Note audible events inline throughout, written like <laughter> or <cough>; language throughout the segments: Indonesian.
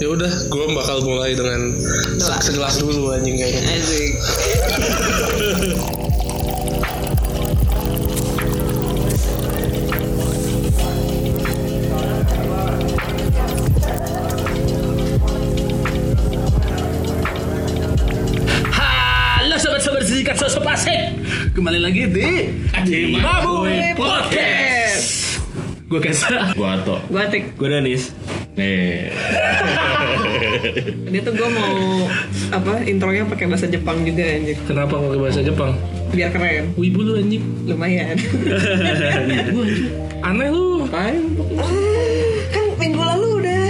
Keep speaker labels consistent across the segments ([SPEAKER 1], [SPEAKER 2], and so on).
[SPEAKER 1] ya udah gue bakal mulai dengan
[SPEAKER 2] Doa.
[SPEAKER 1] segelas dulu anjing kayaknya
[SPEAKER 2] Asik.
[SPEAKER 3] Halo sobat-sobat sejikat sosok asik Kembali lagi di Cimabue Podcast Gue Kesa
[SPEAKER 4] Gua Ato
[SPEAKER 2] Gua tik.
[SPEAKER 5] Gue Danis.
[SPEAKER 4] Nih
[SPEAKER 2] Dia tuh gua mau apa intronya pakai bahasa Jepang juga anjir.
[SPEAKER 3] Kenapa pakai bahasa Jepang?
[SPEAKER 2] Biar keren.
[SPEAKER 3] Wibu lu anjing
[SPEAKER 2] Lumayan.
[SPEAKER 3] Aneh lu
[SPEAKER 2] Apaan? Ah, kan minggu lalu udah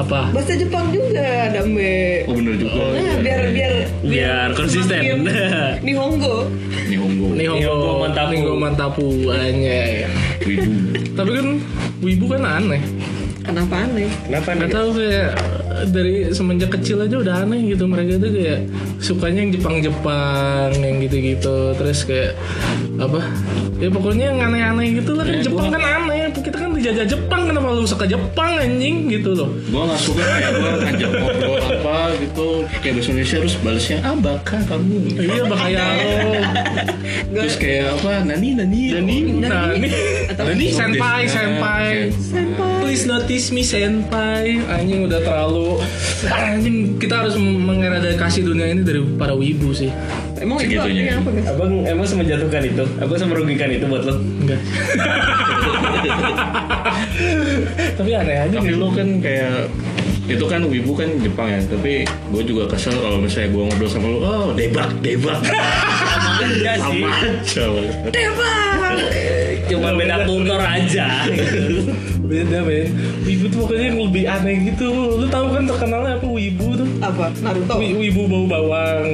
[SPEAKER 3] Apa?
[SPEAKER 2] bahasa Jepang juga ada Mbak.
[SPEAKER 4] Oh bener juga
[SPEAKER 2] Nah, biar biar
[SPEAKER 5] Biar konsisten.
[SPEAKER 2] semakin Nihongo.
[SPEAKER 4] Nih Honggo
[SPEAKER 5] Nihongo Mantapu.
[SPEAKER 3] Nihongo Mantapu Anjay
[SPEAKER 4] Wibu
[SPEAKER 3] Tapi kan Wibu kan aneh
[SPEAKER 2] Kenapa aneh?
[SPEAKER 5] Kenapa
[SPEAKER 1] ya?
[SPEAKER 3] Gak tau kayak dari semenjak kecil aja udah aneh gitu mereka tuh kayak sukanya yang Jepang-Jepang yang gitu-gitu terus kayak apa ya pokoknya yang aneh-aneh gitu lah kan Jepang kan aneh kita kan dijajah Jepang kenapa lu suka Jepang anjing gitu loh
[SPEAKER 4] Gua gak suka kayak gua ngajak ngobrol apa gitu Kayak bahasa Indonesia terus balesnya Ah bakal kamu
[SPEAKER 3] iya bahaya lo
[SPEAKER 4] Terus kayak apa Nani Nani Nani
[SPEAKER 3] nah ini ini senpai senpai Please notice me senpai Anjing udah terlalu Anjing kita harus mengeradikasi dunia ini dari para wibu sih
[SPEAKER 2] Emang itu
[SPEAKER 4] Segitunya.
[SPEAKER 2] artinya apa guys?
[SPEAKER 5] Abang emang semejatuhkan itu? Abang semerugikan itu buat lo?
[SPEAKER 3] Enggak <laughs> Tapi aneh aja
[SPEAKER 4] Tapi
[SPEAKER 3] gitu
[SPEAKER 4] lu kan kayak itu kan wibu kan Jepang ya tapi gue juga kesel kalau misalnya gue ngobrol sama lu oh debak debak
[SPEAKER 5] Enggak sih.
[SPEAKER 4] sama aja
[SPEAKER 5] Cuma beda kultur aja.
[SPEAKER 3] Beda men Wibu tuh pokoknya yang lebih aneh gitu Lu tahu kan terkenalnya apa wibu tuh
[SPEAKER 2] Apa? Naruto. Eh,
[SPEAKER 3] Wi- Wibu bau bawang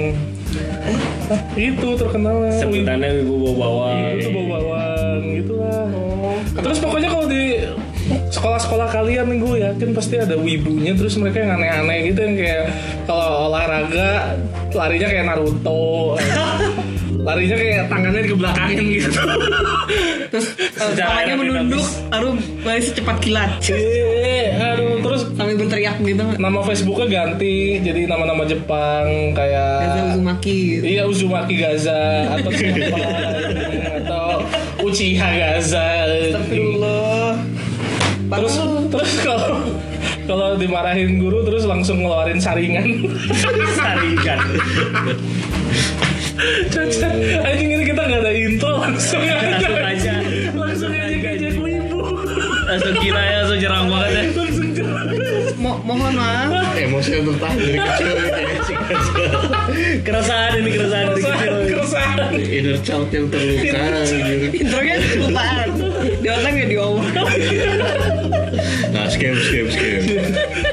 [SPEAKER 3] Hah, Itu terkenalnya Wibu
[SPEAKER 5] Sebutannya ibu bawa bawang.
[SPEAKER 3] itu bau bawang gitu lah
[SPEAKER 2] Oh.
[SPEAKER 3] Terus pokoknya kalau di sekolah-sekolah kalian nih gue yakin pasti ada wibunya terus mereka yang aneh-aneh gitu yang kayak kalau olahraga larinya kayak
[SPEAKER 2] <laughs>
[SPEAKER 3] Naruto larinya kayak tangannya dikebelakangin gitu
[SPEAKER 2] Terus eh,
[SPEAKER 5] Sejarah
[SPEAKER 2] tangannya
[SPEAKER 5] yang kita
[SPEAKER 2] menunduk,
[SPEAKER 5] tulis.
[SPEAKER 2] aduh mulai secepat kilat.
[SPEAKER 3] Iya, aduh terus
[SPEAKER 2] Sambil berteriak gitu.
[SPEAKER 3] nama Facebooknya ganti jadi nama-nama Jepang
[SPEAKER 2] Gaza
[SPEAKER 3] kayak
[SPEAKER 2] Uzumaki.
[SPEAKER 3] iya Uzumaki Gaza atau siapa atau Uchiha Gaza
[SPEAKER 2] Astagfirullah.
[SPEAKER 3] terus terus kalau kalau dimarahin guru terus langsung ngeluarin saringan
[SPEAKER 5] Saringan.
[SPEAKER 3] caca anjing ini kita nggak ada intro langsung aja
[SPEAKER 5] Langsung aja.
[SPEAKER 3] langsung aja kayak ibu
[SPEAKER 5] Langsung gila ya, langsung jerang banget ya.
[SPEAKER 3] langsung jelas
[SPEAKER 2] Mo- mohon maaf.
[SPEAKER 4] emosinya bertahan dari kecil
[SPEAKER 5] Keresahan ini keresahan dari kecil.
[SPEAKER 3] keresahan
[SPEAKER 4] inner child yang terluka gitu.
[SPEAKER 2] Intronya kelupaan. Di otak nggak diomong.
[SPEAKER 4] nah scam scam scam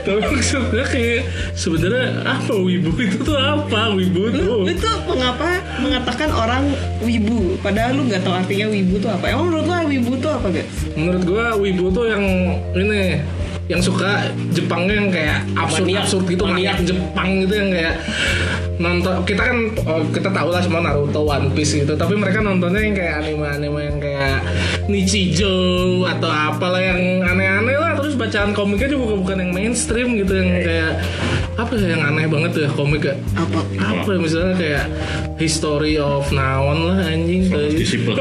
[SPEAKER 3] tapi maksudnya kayak sebenarnya apa wibu itu tuh apa wibu tuh
[SPEAKER 2] Lu tuh mengapa mengatakan orang wibu? Padahal lu nggak tahu artinya wibu tuh apa. Emang menurut lu wibu tuh apa guys?
[SPEAKER 3] menurut gua wibu tuh yang ini yang suka Jepangnya yang kayak absurd
[SPEAKER 5] Maniak.
[SPEAKER 3] absurd gitu maniak
[SPEAKER 5] Maniak.
[SPEAKER 3] Jepang gitu yang kayak nonton kita kan oh, kita tahu lah semua Naruto One Piece gitu tapi mereka nontonnya yang kayak anime anime yang kayak Nichijo atau apalah yang aneh-aneh lah terus bacaan komiknya juga bukan yang mainstream gitu yang kayak apa ya yang aneh banget tuh ya komiknya
[SPEAKER 2] Apa?
[SPEAKER 3] apa ya, misalnya kayak History of Naon lah anjing kayak gitu.
[SPEAKER 4] disiplin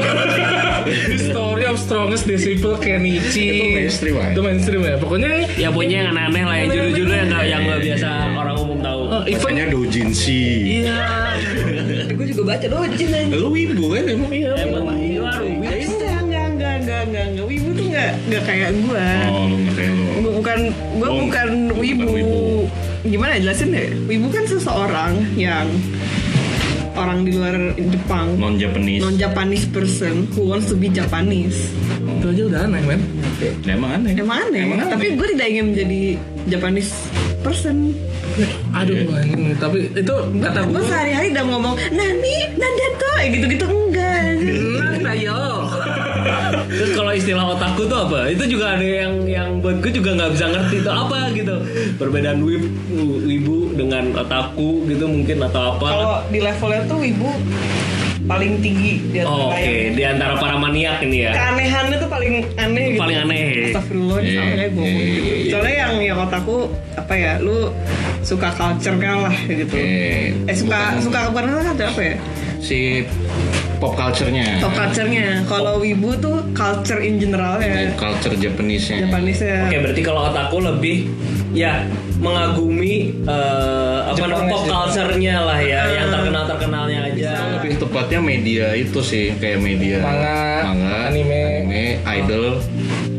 [SPEAKER 3] Story of Strongest Disciple Kenichi
[SPEAKER 4] Itu mainstream, ya?
[SPEAKER 3] Itu mainstream ya Pokoknya
[SPEAKER 5] Ya punya yang aneh-aneh lah, yang judul-judul yang nggak yang nggak biasa orang umum tahu.
[SPEAKER 3] eh, event
[SPEAKER 4] makanya dojinsi
[SPEAKER 3] Iya
[SPEAKER 2] Gue juga baca dojin aja.
[SPEAKER 4] lu wibu kan emang
[SPEAKER 3] Iya
[SPEAKER 5] Emang ini warung.
[SPEAKER 2] Enggak, enggak, enggak, enggak, enggak, enggak. Wibu tuh enggak, enggak kayak gua.
[SPEAKER 4] oh lu nggak kayak lu
[SPEAKER 2] Bu- Bukan, gua
[SPEAKER 4] Oh,
[SPEAKER 2] bukan
[SPEAKER 4] bukan
[SPEAKER 2] wibu.
[SPEAKER 4] wibu.
[SPEAKER 2] Gimana jelasin ya? Wibu kan seseorang yang orang di luar Jepang,
[SPEAKER 4] non Japanese
[SPEAKER 2] non Japanese person who wants to be Japanese.
[SPEAKER 3] Itu aja udah aneh men
[SPEAKER 4] Nah, emang aneh
[SPEAKER 2] Emang aneh,
[SPEAKER 4] Emang aneh.
[SPEAKER 2] tapi gue tidak ingin menjadi Japanese person.
[SPEAKER 3] Aduh anjing. Tapi itu kata
[SPEAKER 2] Gue
[SPEAKER 3] gue
[SPEAKER 2] sehari-hari udah ngomong nani, nandato, ya gitu-gitu enggak.
[SPEAKER 3] Nah yo
[SPEAKER 5] Terus kalau istilah otakku tuh apa? Itu juga ada yang yang buat gue juga nggak bisa ngerti itu apa gitu. Perbedaan wib, wibu dengan otakku gitu mungkin atau apa?
[SPEAKER 2] Kalau di levelnya tuh wibu paling tinggi di antara
[SPEAKER 5] Oh, Oke,
[SPEAKER 2] yang-
[SPEAKER 5] di antara para maniak ini ya.
[SPEAKER 2] keanehannya tuh paling aneh gitu.
[SPEAKER 5] Paling aneh.
[SPEAKER 2] Astagfirullah ini
[SPEAKER 4] Iya,
[SPEAKER 2] salah gue.
[SPEAKER 4] iya, iya, iya.
[SPEAKER 2] gitu. Soalnya yang yang otakku apa ya, lu suka culture kan lah gitu.
[SPEAKER 5] Iya.
[SPEAKER 4] Eh,
[SPEAKER 2] Eh suka
[SPEAKER 4] bukan
[SPEAKER 2] suka bukan ada apa ya?
[SPEAKER 4] si pop culture-nya.
[SPEAKER 2] Pop culture-nya. Kalau wibu tuh culture in general
[SPEAKER 4] Pop
[SPEAKER 2] ya.
[SPEAKER 4] culture Japanese-nya.
[SPEAKER 2] Japanese ya.
[SPEAKER 5] Oke, berarti kalau otakku lebih ya mengagumi eh, apa namanya
[SPEAKER 1] Jepang,
[SPEAKER 5] pop
[SPEAKER 1] Jepang.
[SPEAKER 5] culture-nya lah ya, yang terkenal terkenalnya aja.
[SPEAKER 4] Lebih tepatnya media itu sih kayak media
[SPEAKER 3] Manga,
[SPEAKER 4] manga,
[SPEAKER 3] anime.
[SPEAKER 4] anime, idol,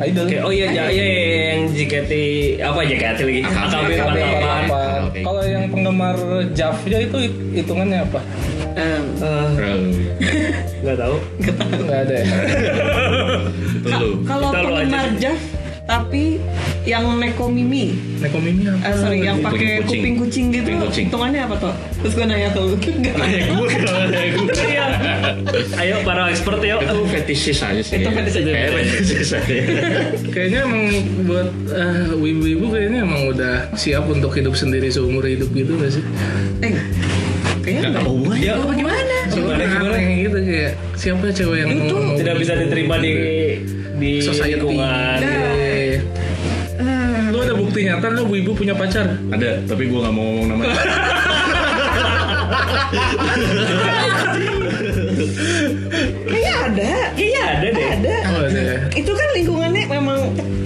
[SPEAKER 3] Idol.
[SPEAKER 5] Oke, oh iya, ja- iya, iya, iya, yang JKT apa JKT lagi?
[SPEAKER 4] AKB,
[SPEAKER 5] AKB
[SPEAKER 4] AKB,
[SPEAKER 5] apa
[SPEAKER 4] apa.
[SPEAKER 3] Apa? Kalau yang penggemar Javnya itu hit- hitungannya apa? <laughs>
[SPEAKER 2] Em,
[SPEAKER 4] Rel.
[SPEAKER 5] Enggak tahu.
[SPEAKER 3] Nggak ada ya.
[SPEAKER 4] Itu lu.
[SPEAKER 2] Kalau
[SPEAKER 5] Kita lu aja
[SPEAKER 2] penggemar
[SPEAKER 5] sih.
[SPEAKER 2] Jav tapi yang neko mimi,
[SPEAKER 3] Nekomimi apa?
[SPEAKER 2] Eh, sorry, yang pakai kuping
[SPEAKER 4] Kucing-kucing.
[SPEAKER 2] kucing gitu,
[SPEAKER 4] Kuping kucing.
[SPEAKER 2] hitungannya apa toh? Terus gue nanya ke lu, <laughs> enggak Eh,
[SPEAKER 4] Kayak gue kenapa kayak gue.
[SPEAKER 5] Iya. Ayo para expert yuk.
[SPEAKER 4] Itu fetishis aja sih.
[SPEAKER 2] Itu fetish aja.
[SPEAKER 4] Kayak fetishis aja.
[SPEAKER 3] Kayaknya emang buat eh, wibu-wibu kayaknya emang udah siap untuk hidup sendiri seumur hidup gitu gak sih?
[SPEAKER 2] Eh, kayaknya
[SPEAKER 4] Gak
[SPEAKER 2] enggak.
[SPEAKER 4] tahu gue ya.
[SPEAKER 2] Apa gimana?
[SPEAKER 3] Soalnya
[SPEAKER 5] gimana?
[SPEAKER 3] aneh gitu kayak siapa cewek yang gitu?
[SPEAKER 2] Itu
[SPEAKER 3] mau-
[SPEAKER 5] Tidak bisa diterima di di
[SPEAKER 3] society.
[SPEAKER 5] lingkungan.
[SPEAKER 3] Iya. Lu ada bukti nyata lu wibu punya pacar?
[SPEAKER 4] Ada, tapi gue gak mau ngomong namanya.
[SPEAKER 2] Kayaknya ada.
[SPEAKER 5] Iya, ada deh.
[SPEAKER 2] Ada.
[SPEAKER 3] Oh, ada ya.
[SPEAKER 2] Itu kan lingkungannya memang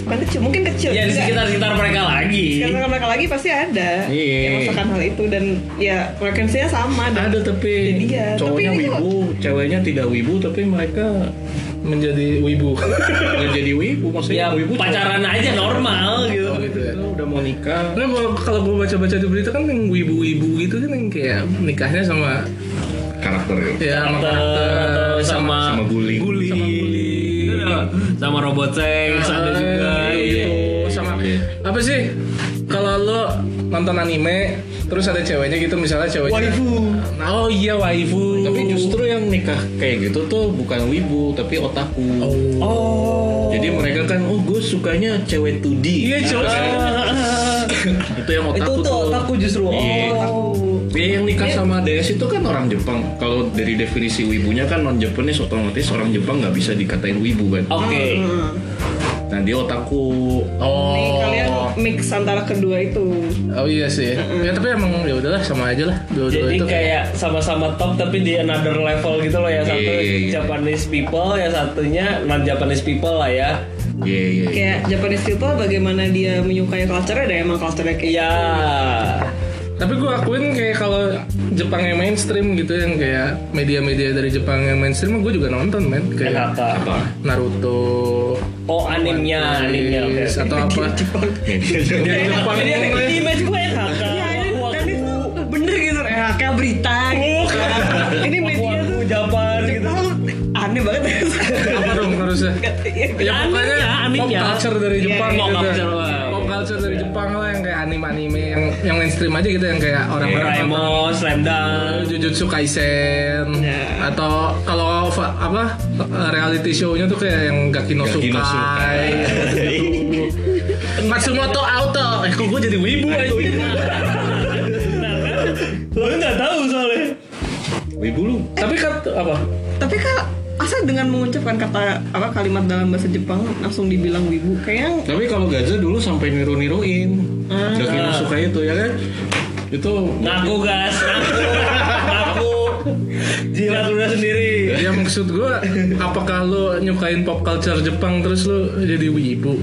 [SPEAKER 2] bukan kecil, mungkin kecil.
[SPEAKER 5] Ya di
[SPEAKER 2] Enggak.
[SPEAKER 5] sekitar-sekitar mereka lagi.
[SPEAKER 2] Karena mereka lagi pasti ada
[SPEAKER 4] Iya.
[SPEAKER 2] yang merasakan hal itu dan ya frekuensinya sama dan
[SPEAKER 3] Ada tapi
[SPEAKER 2] jadi ya.
[SPEAKER 4] Cowoknya
[SPEAKER 2] tapi ini kok-
[SPEAKER 4] wibu, ceweknya tidak wibu, tapi mereka
[SPEAKER 3] menjadi wibu.
[SPEAKER 4] nggak jadi wibu. Maksudnya
[SPEAKER 5] Ya
[SPEAKER 4] wibu cowok.
[SPEAKER 5] pacaran aja normal gitu.
[SPEAKER 3] Oh, gitu ya.
[SPEAKER 4] Itu udah mau nikah.
[SPEAKER 3] Karena kalau kalau gue baca-baca di berita kan yang wibu-wibu gitu kan yang kayak nikahnya sama
[SPEAKER 4] Karakter.
[SPEAKER 3] ya sama
[SPEAKER 5] Atau-
[SPEAKER 3] karakter,
[SPEAKER 5] atau sama
[SPEAKER 4] Sama Iya. guling.
[SPEAKER 3] bully, sama bully.
[SPEAKER 5] sama robot tanks ada juga
[SPEAKER 3] gitu.
[SPEAKER 5] gitu.
[SPEAKER 3] sama
[SPEAKER 4] Iya.
[SPEAKER 3] apa sih kalau lo nonton anime terus ada ceweknya gitu misalnya ceweknya Nah, oh iya waifu
[SPEAKER 4] Tapi justru yang nikah kayak gitu tuh bukan wibu, tapi otaku.
[SPEAKER 5] Oh.
[SPEAKER 4] Jadi mereka kan, oh gue sukanya cewek 2D.
[SPEAKER 3] iya cowok
[SPEAKER 4] Itu yang otaku tuh.
[SPEAKER 5] justru.
[SPEAKER 4] Iya.
[SPEAKER 2] Oh.
[SPEAKER 4] Iya, yang nikah sama DS itu kan orang Jepang. Kalau dari definisi wibunya kan non Japanese otomatis orang Jepang nggak bisa dikatain wibu kan.
[SPEAKER 5] Oke.
[SPEAKER 2] Hmm.
[SPEAKER 4] Nah dia otaku.
[SPEAKER 2] Nih,
[SPEAKER 4] Oh.
[SPEAKER 2] kalian mix antara kedua itu.
[SPEAKER 3] oh iya sih ya tapi emang ya udahlah sama aja lah dua-dua
[SPEAKER 5] Jadi
[SPEAKER 3] itu
[SPEAKER 5] kayak sama-sama top tapi di another level gitu loh ya satu
[SPEAKER 4] Iya, iya, iya.
[SPEAKER 5] Japanese people ya satunya non Japanese people lah ya.
[SPEAKER 4] Iya iya. iya.
[SPEAKER 2] Kayak Japanese people bagaimana dia menyukai culture ada emang culture kayak
[SPEAKER 5] Iya.
[SPEAKER 3] tapi gue akuin kayak kalau Jepang yang mainstream gitu yang kayak media-media dari Jepang yang mainstream gue juga nonton men kayak
[SPEAKER 4] Iya.
[SPEAKER 5] Kenapa?
[SPEAKER 4] Apa?
[SPEAKER 3] Naruto
[SPEAKER 5] Oh animnya, animnya. oke.
[SPEAKER 3] Yes, atau apa media Jepang yang
[SPEAKER 5] Jadi
[SPEAKER 3] lain.
[SPEAKER 5] image gue ya kakak.
[SPEAKER 2] Iya, ini-
[SPEAKER 5] Aku-
[SPEAKER 2] dan itu bener gitu eh kayak berita gitu. ini
[SPEAKER 5] aku-
[SPEAKER 2] media
[SPEAKER 5] aku
[SPEAKER 2] tuh
[SPEAKER 5] Japan gitu.
[SPEAKER 2] tahu, aneh banget
[SPEAKER 3] apa dong harusnya
[SPEAKER 5] Ya, animnya, animnya.
[SPEAKER 3] pop culture dari
[SPEAKER 5] Iya,
[SPEAKER 3] Jepang
[SPEAKER 5] pop
[SPEAKER 3] gitu.
[SPEAKER 5] culture, wah.
[SPEAKER 3] Pop culture dari Jepang lah yang kayak anime-anime yang yang mainstream aja gitu yang kayak orang-orang nonton
[SPEAKER 5] Iya, Doraemon, Slam Dunk.
[SPEAKER 3] Jujutsu Kaisen
[SPEAKER 2] Iya.
[SPEAKER 3] atau kalau fa- apa eh, reality show-nya tuh kayak yang Gaki no
[SPEAKER 4] Gaki no Sukai.
[SPEAKER 3] Sukai <laughs> Matsumoto Auto eh kok gue jadi wibu aja
[SPEAKER 5] Lo nggak tahu soalnya.
[SPEAKER 4] Wibu lu.
[SPEAKER 3] tapi kan apa
[SPEAKER 2] tapi kak asal dengan mengucapkan kata apa kalimat dalam bahasa Jepang langsung dibilang wibu kayaknya
[SPEAKER 4] Tapi kalau Gaza dulu sampai niru-niruin. Gaki no Sukai itu ya kan. Itu
[SPEAKER 5] Ngaku gas, ngaku, ngaku. Jilat udah sendiri.
[SPEAKER 3] ya maksud gue apakah lo nyukain pop culture Jepang terus lo jadi wibu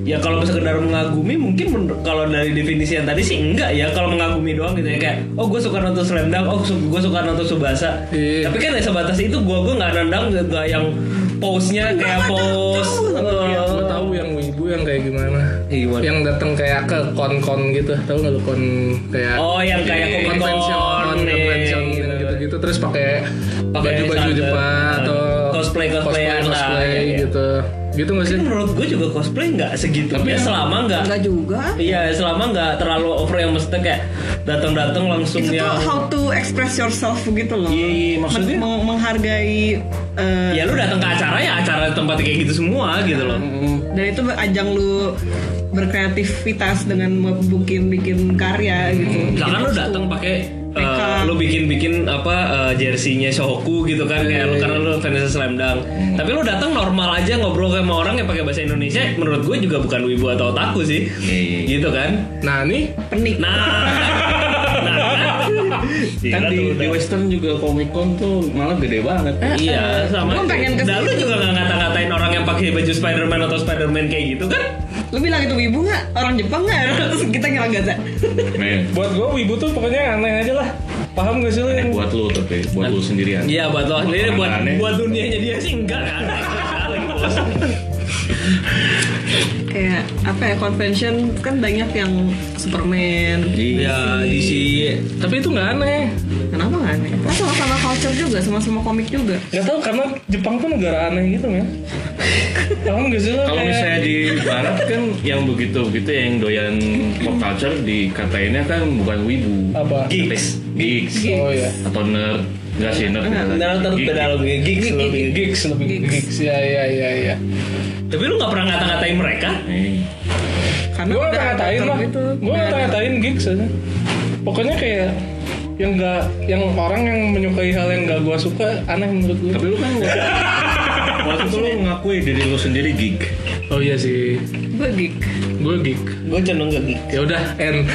[SPEAKER 5] Ya kalau sekedar mengagumi mungkin men- kalau dari definisi yang tadi sih enggak ya kalau mengagumi doang gitu ya kayak oh gue suka nonton Slam Dunk, oh su- gue suka nonton Subasa.
[SPEAKER 3] Iya.
[SPEAKER 5] Tapi kan ya sebatas itu gue gue nggak nendang nggak yang pose-nya kayak pose.
[SPEAKER 3] Iya, gue tahu yang wibu yang kayak gimana.
[SPEAKER 5] Eh, gimana?
[SPEAKER 3] Yang datang kayak ke kon-kon gitu, tahu nggak lu kon kayak
[SPEAKER 5] Oh yang kayak
[SPEAKER 3] Iya,
[SPEAKER 5] Comic
[SPEAKER 3] konvension,
[SPEAKER 5] Con,
[SPEAKER 3] konvension
[SPEAKER 5] eh, gitu.
[SPEAKER 3] gitu-gitu terus pakai
[SPEAKER 5] Pakai
[SPEAKER 3] baju-baju
[SPEAKER 5] sandal,
[SPEAKER 3] Jepang atau
[SPEAKER 5] cosplay- cosplayan lah,
[SPEAKER 3] cosplay
[SPEAKER 5] iya, iya.
[SPEAKER 3] gitu. Gitu nggak sih?
[SPEAKER 5] Tapi menurut gue juga cosplay nggak segitu. Tapi selama nggak
[SPEAKER 2] enggak juga
[SPEAKER 5] Iya, selama nggak terlalu over yang maksudnya kayak datang-datang langsung ya.
[SPEAKER 2] itu
[SPEAKER 5] yang
[SPEAKER 2] tuh how to express yourself gitu loh
[SPEAKER 4] Iya, iya, maksudnya?
[SPEAKER 2] Men- meng- menghargai eh,
[SPEAKER 5] ya lu datang ke acara ya acara tempatnya kayak gitu semua gitu loh.
[SPEAKER 2] dan itu ajang lu berkreativitas dengan membuat bikin karya gitu
[SPEAKER 5] Jangan lu datang pakai eh,
[SPEAKER 2] Ah.
[SPEAKER 5] lu bikin-bikin apa eh, jersinya Shohoku gitu kan kayak lu karena lu fans Slam Dunk. Tapi lu datang normal aja ngobrol sama orang yang pakai bahasa Indonesia, menurut gue juga bukan wibu atau otaku sih.
[SPEAKER 4] Iya, iya.
[SPEAKER 5] Gitu kan?
[SPEAKER 3] Nah ini
[SPEAKER 2] penik
[SPEAKER 5] Nah. nah kan?
[SPEAKER 4] kan
[SPEAKER 5] Gila
[SPEAKER 4] di,
[SPEAKER 5] tuh,
[SPEAKER 4] di
[SPEAKER 5] udah.
[SPEAKER 4] Western juga Comic Con tuh malah gede banget.
[SPEAKER 5] Iya, sama.
[SPEAKER 2] Gua
[SPEAKER 5] aja.
[SPEAKER 2] pengen ke
[SPEAKER 5] Dan lu
[SPEAKER 2] situ.
[SPEAKER 5] juga nggak ngata-ngatain orang yang pakai baju Spider-Man atau Spider-Man kayak gitu kan?
[SPEAKER 2] lu bilang itu wibu nggak orang Jepang nggak <laughs> terus kita ngilang Gaza
[SPEAKER 4] Nih,
[SPEAKER 3] buat gue wibu tuh pokoknya aneh aja lah. Paham gak sih lu? yang-
[SPEAKER 4] buat lu tapi buat lu sendirian.
[SPEAKER 5] Iya, buat lo sendiri
[SPEAKER 4] Orang
[SPEAKER 5] buat
[SPEAKER 4] aneh.
[SPEAKER 5] buat dunianya dia sih enggak kan. Lagi bos.
[SPEAKER 2] <laughs> kayak apa ya convention kan banyak yang Superman
[SPEAKER 4] Iya.
[SPEAKER 5] <laughs> Ya, di si
[SPEAKER 3] Tapi itu nggak aneh.
[SPEAKER 2] kenapa nggak aneh kan sama sama culture juga sama sama komik juga
[SPEAKER 3] Gak tau karena Jepang tuh negara aneh gitu ya. Paham gak sih lu?
[SPEAKER 4] Kalau
[SPEAKER 3] Kayak-
[SPEAKER 4] misalnya di barat kan yang begitu-begitu yang doyan pop culture dikatainnya kan bukan wibu.
[SPEAKER 3] apa?
[SPEAKER 4] Geeks. Geeks.
[SPEAKER 3] Oh iya.
[SPEAKER 4] Atau nerd. Enggak sih nerd. beda lagi.
[SPEAKER 5] Nah, ntar
[SPEAKER 4] Geek.
[SPEAKER 5] beda lagi gigs lebih.
[SPEAKER 3] Geeks lebih
[SPEAKER 2] Geeks.
[SPEAKER 3] geeks. Ya ya ya ya.
[SPEAKER 5] Tapi lu nggak pernah ngata-ngatain mereka?
[SPEAKER 4] Nih.
[SPEAKER 2] karena
[SPEAKER 3] Gue
[SPEAKER 2] udah
[SPEAKER 3] ngatain
[SPEAKER 2] culture
[SPEAKER 3] lah.
[SPEAKER 2] gitu.
[SPEAKER 3] Gue ngatain geeks aja. Pokoknya kayak yang nggak yang orang yang menyukai hal yang nggak gue suka aneh menurut gue.
[SPEAKER 4] Tapi lu kan waktu itu lu mengakui diri lu sendiri geek.
[SPEAKER 3] Oh iya sih.
[SPEAKER 2] gue geek
[SPEAKER 3] Gue geek.
[SPEAKER 5] Gue cenderung gak geek.
[SPEAKER 3] Ya udah, end.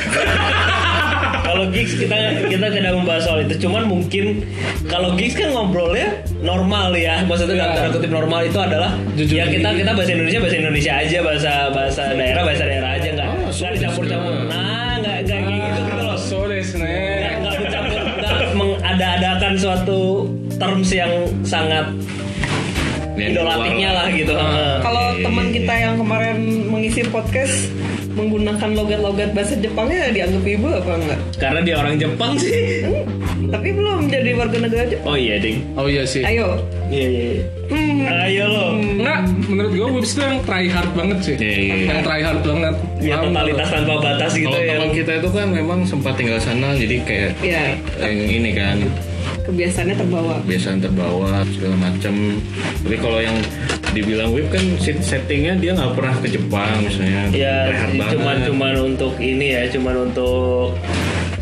[SPEAKER 5] Kalau gigs kita kita tidak membahas soal itu. Cuman mungkin kalau gigs kan ngobrolnya normal ya. Maksudnya
[SPEAKER 3] Iya.
[SPEAKER 5] dalam tanda kutip normal itu adalah
[SPEAKER 3] Jujur
[SPEAKER 5] ya
[SPEAKER 3] diri.
[SPEAKER 5] kita kita bahasa Indonesia bahasa Indonesia aja bahasa bahasa daerah bahasa daerah aja nggak nggak dicampur-campur. Nah nggak nggak kayak gitu gitu loh.
[SPEAKER 3] Sorry,
[SPEAKER 5] Nggak
[SPEAKER 3] Snake.
[SPEAKER 5] nggak mencampur nggak mengada-adakan suatu terms yang sangat
[SPEAKER 4] Yang
[SPEAKER 5] idolatiknya
[SPEAKER 4] keluar.
[SPEAKER 5] lah gitu. Heeh.
[SPEAKER 2] kalau teman kita yang kemarin mengisi podcast menggunakan logat-logat bahasa Jepangnya dianggap wibu apa enggak
[SPEAKER 5] Karena dia orang Jepang sih.
[SPEAKER 2] Hmm, tapi belum jadi warga negara Jepang
[SPEAKER 5] Oh iya ding.
[SPEAKER 3] Oh iya sih.
[SPEAKER 2] ayo
[SPEAKER 5] Iya iya.
[SPEAKER 2] Hmm,
[SPEAKER 5] Ayo lo.
[SPEAKER 3] Enggak, menurut gue Wips tuh yang try hard banget sih.
[SPEAKER 4] Iya, iya, iya.
[SPEAKER 3] Yang try hard banget.
[SPEAKER 5] Ya
[SPEAKER 3] Paham
[SPEAKER 5] totalitas tanpa batas gitu
[SPEAKER 4] Kalau
[SPEAKER 5] ya.
[SPEAKER 4] teman kita itu kan memang sempat tinggal sana jadi kayak
[SPEAKER 2] ya
[SPEAKER 4] yang ini kan
[SPEAKER 2] kebiasaannya terbawa
[SPEAKER 4] biasaan terbawa segala macam. Tapi kalau yang dibilang web kan set- settingnya dia nggak pernah ke Jepang misalnya.
[SPEAKER 5] Ya
[SPEAKER 4] Rehat banget.
[SPEAKER 5] cuman cuman untuk ini ya, cuman untuk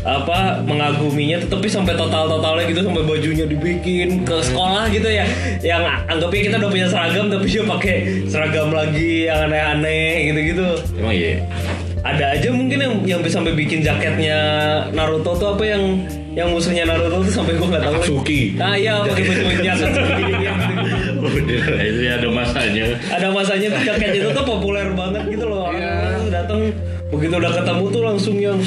[SPEAKER 5] apa mengaguminya tetapi sampai total totalnya gitu sampai bajunya dibikin ke sekolah gitu ya yang anggapnya kita udah punya seragam tapi dia pakai seragam lagi yang aneh-aneh gitu-gitu
[SPEAKER 4] Emang iya. <laughs>
[SPEAKER 5] ada aja mungkin yang yang bisa sampai bikin jaketnya Naruto tuh apa yang yang musuhnya Naruto tuh sampai gue nggak tahu lagi.
[SPEAKER 4] Akatsuki.
[SPEAKER 5] ah iya pakai baju jaket <laughs>
[SPEAKER 4] Udah, ini ada masanya.
[SPEAKER 5] ada masanya tuh jaket itu tuh populer banget gitu loh orang tuh datang begitu udah ketemu tuh langsung yang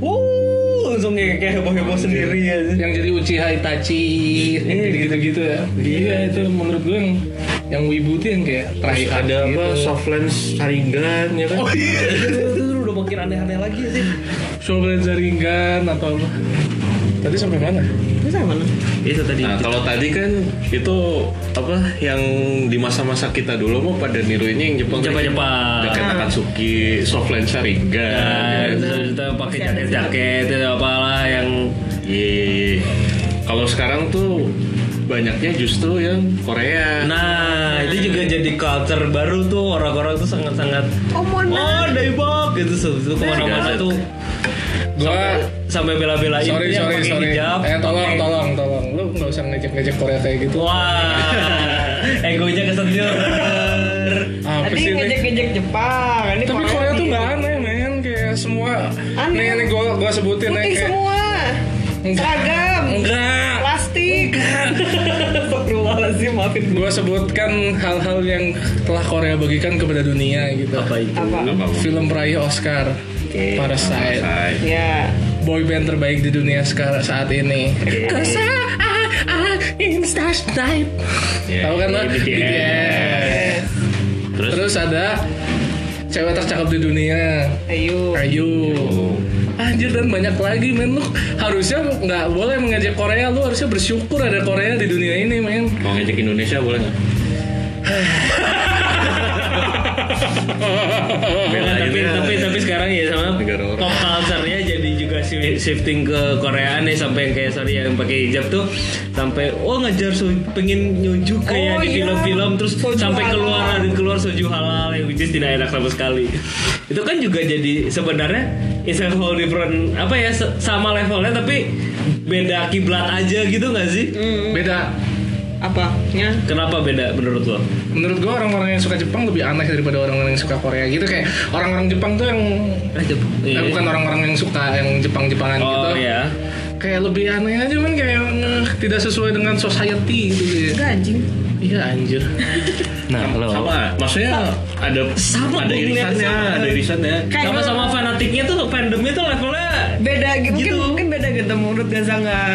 [SPEAKER 5] wuh langsung kayak kayak heboh heboh sendiri ya
[SPEAKER 3] yang jadi Uchiha Itachi
[SPEAKER 4] gitu.
[SPEAKER 3] gitu-gitu ya iya itu menurut gue yang yang wibu tuh yang kayak try
[SPEAKER 4] Terus
[SPEAKER 3] hard
[SPEAKER 4] ada
[SPEAKER 3] gitu.
[SPEAKER 4] apa soft lens saringan ya kan?
[SPEAKER 5] itu tuh udah makin aneh aneh lagi sih
[SPEAKER 3] shogun jaringan atau apa tadi sampai mana
[SPEAKER 2] terus yang mana
[SPEAKER 5] itu Iya, tadi
[SPEAKER 4] Nah kalau tadi kan itu apa yang di masa-masa kita dulu mau pada niruinnya yang Jepang
[SPEAKER 5] Jepang-Jepang.
[SPEAKER 4] Jaket Akatsuki, soft lens saringan. ya.
[SPEAKER 5] Nah, kita pakai jaket jaket itu apalah yang
[SPEAKER 4] Iya. Kalau sekarang tuh banyaknya justru yang Korea.
[SPEAKER 5] nah itu
[SPEAKER 3] <laughs>
[SPEAKER 5] juga jadi culture baru tuh orang-orang tuh sangat sangat
[SPEAKER 2] oh
[SPEAKER 5] Oh, Daibok gitu sebetulnya itu kemana-mana
[SPEAKER 4] Segala.
[SPEAKER 5] tuh
[SPEAKER 3] gua
[SPEAKER 5] sampai bela-belain
[SPEAKER 3] Iya, sorry
[SPEAKER 5] dia
[SPEAKER 3] sorry
[SPEAKER 5] pakai
[SPEAKER 3] sorry
[SPEAKER 5] hijab.
[SPEAKER 3] eh tolong
[SPEAKER 5] pakai-
[SPEAKER 3] tolong tolong lu nggak usah ngejek-ngejek Korea kayak gitu
[SPEAKER 5] Wah, <laughs> egonya kesenjur.
[SPEAKER 3] <laughs> apa
[SPEAKER 2] Tadi
[SPEAKER 3] sih ini
[SPEAKER 2] ngejek-ngejek Jepang, ini
[SPEAKER 3] Ah,
[SPEAKER 2] gitu.
[SPEAKER 3] tapi Korea tuh nggak aneh men kayak semua
[SPEAKER 2] Aneh.
[SPEAKER 3] nih nih gue gue sebutin nih
[SPEAKER 2] Putih ya?
[SPEAKER 3] kayak
[SPEAKER 2] semua, seragam,
[SPEAKER 3] enggak
[SPEAKER 2] plastik. <laughs> Astagfirullahaladzim, maafin gue.
[SPEAKER 3] gue sebutkan hal-hal yang telah Korea bagikan kepada dunia gitu
[SPEAKER 5] Apa itu?
[SPEAKER 2] Apa?
[SPEAKER 4] Apa?
[SPEAKER 3] film peraih Oscar
[SPEAKER 5] Oke.
[SPEAKER 3] Parasite
[SPEAKER 4] Sai.
[SPEAKER 2] Ya,
[SPEAKER 3] boy band terbaik di dunia sekarang saat ini Cause I, I, I'm such type.
[SPEAKER 4] Ya,
[SPEAKER 3] tahu kan lo
[SPEAKER 4] BTS.
[SPEAKER 3] BTS.
[SPEAKER 4] Terus,
[SPEAKER 3] terus ada cewek tercakap di dunia
[SPEAKER 2] ayo.
[SPEAKER 3] Ayu
[SPEAKER 4] Oh.
[SPEAKER 3] Anjir dan banyak lagi men Lu harusnya nggak boleh mengajak Korea Lu harusnya bersyukur ada Korea di dunia ini men
[SPEAKER 4] mau ngajak Indonesia boleh <laughs> nggak?
[SPEAKER 5] Nah, tapi,
[SPEAKER 4] Belainnya
[SPEAKER 5] tapi tapi sekarang ya sama
[SPEAKER 4] Negara orang.
[SPEAKER 5] pop culture-nya jadi juga shi- shifting ke Koreaan nih sampai yang kayak sorry yang pakai hijab tuh sampai oh ngejar su- pengen nyunjuk
[SPEAKER 2] Oh,
[SPEAKER 5] kayak di
[SPEAKER 2] iya.
[SPEAKER 5] film-film terus
[SPEAKER 2] Soju
[SPEAKER 5] sampai
[SPEAKER 2] halal.
[SPEAKER 5] keluar keluar soju halal yang which is tidak enak sama sekali. Itu kan juga jadi sebenarnya it's a whole different apa ya se- sama levelnya tapi beda kiblat aja gitu nggak sih?
[SPEAKER 3] Beda.
[SPEAKER 2] Apanya?
[SPEAKER 5] Kenapa beda menurut lo?
[SPEAKER 3] Menurut gua orang-orang yang suka Jepang lebih aneh daripada orang-orang yang suka Korea gitu kayak orang-orang Jepang tuh yang eh, bukan orang-orang yang suka yang Jepang-Jepangan gitu.
[SPEAKER 5] Iya. Oh iya.
[SPEAKER 3] Kayak lebih aneh aja men kayak eh, tidak sesuai dengan society gitu dia.
[SPEAKER 2] Enggak anjing.
[SPEAKER 3] Iya anjir.
[SPEAKER 5] Nah,
[SPEAKER 4] Sama, maksudnya ada
[SPEAKER 5] Sama,
[SPEAKER 4] ada
[SPEAKER 5] gua ngeliat
[SPEAKER 4] irisannya,
[SPEAKER 5] sama.
[SPEAKER 4] ada irisannya.
[SPEAKER 2] Kayak-
[SPEAKER 5] Sama-sama fanatiknya tuh fandomnya tuh levelnya
[SPEAKER 2] beda gitu. mungkin
[SPEAKER 5] Gitu.
[SPEAKER 2] mungkin beda gitu menurut Gaza nggak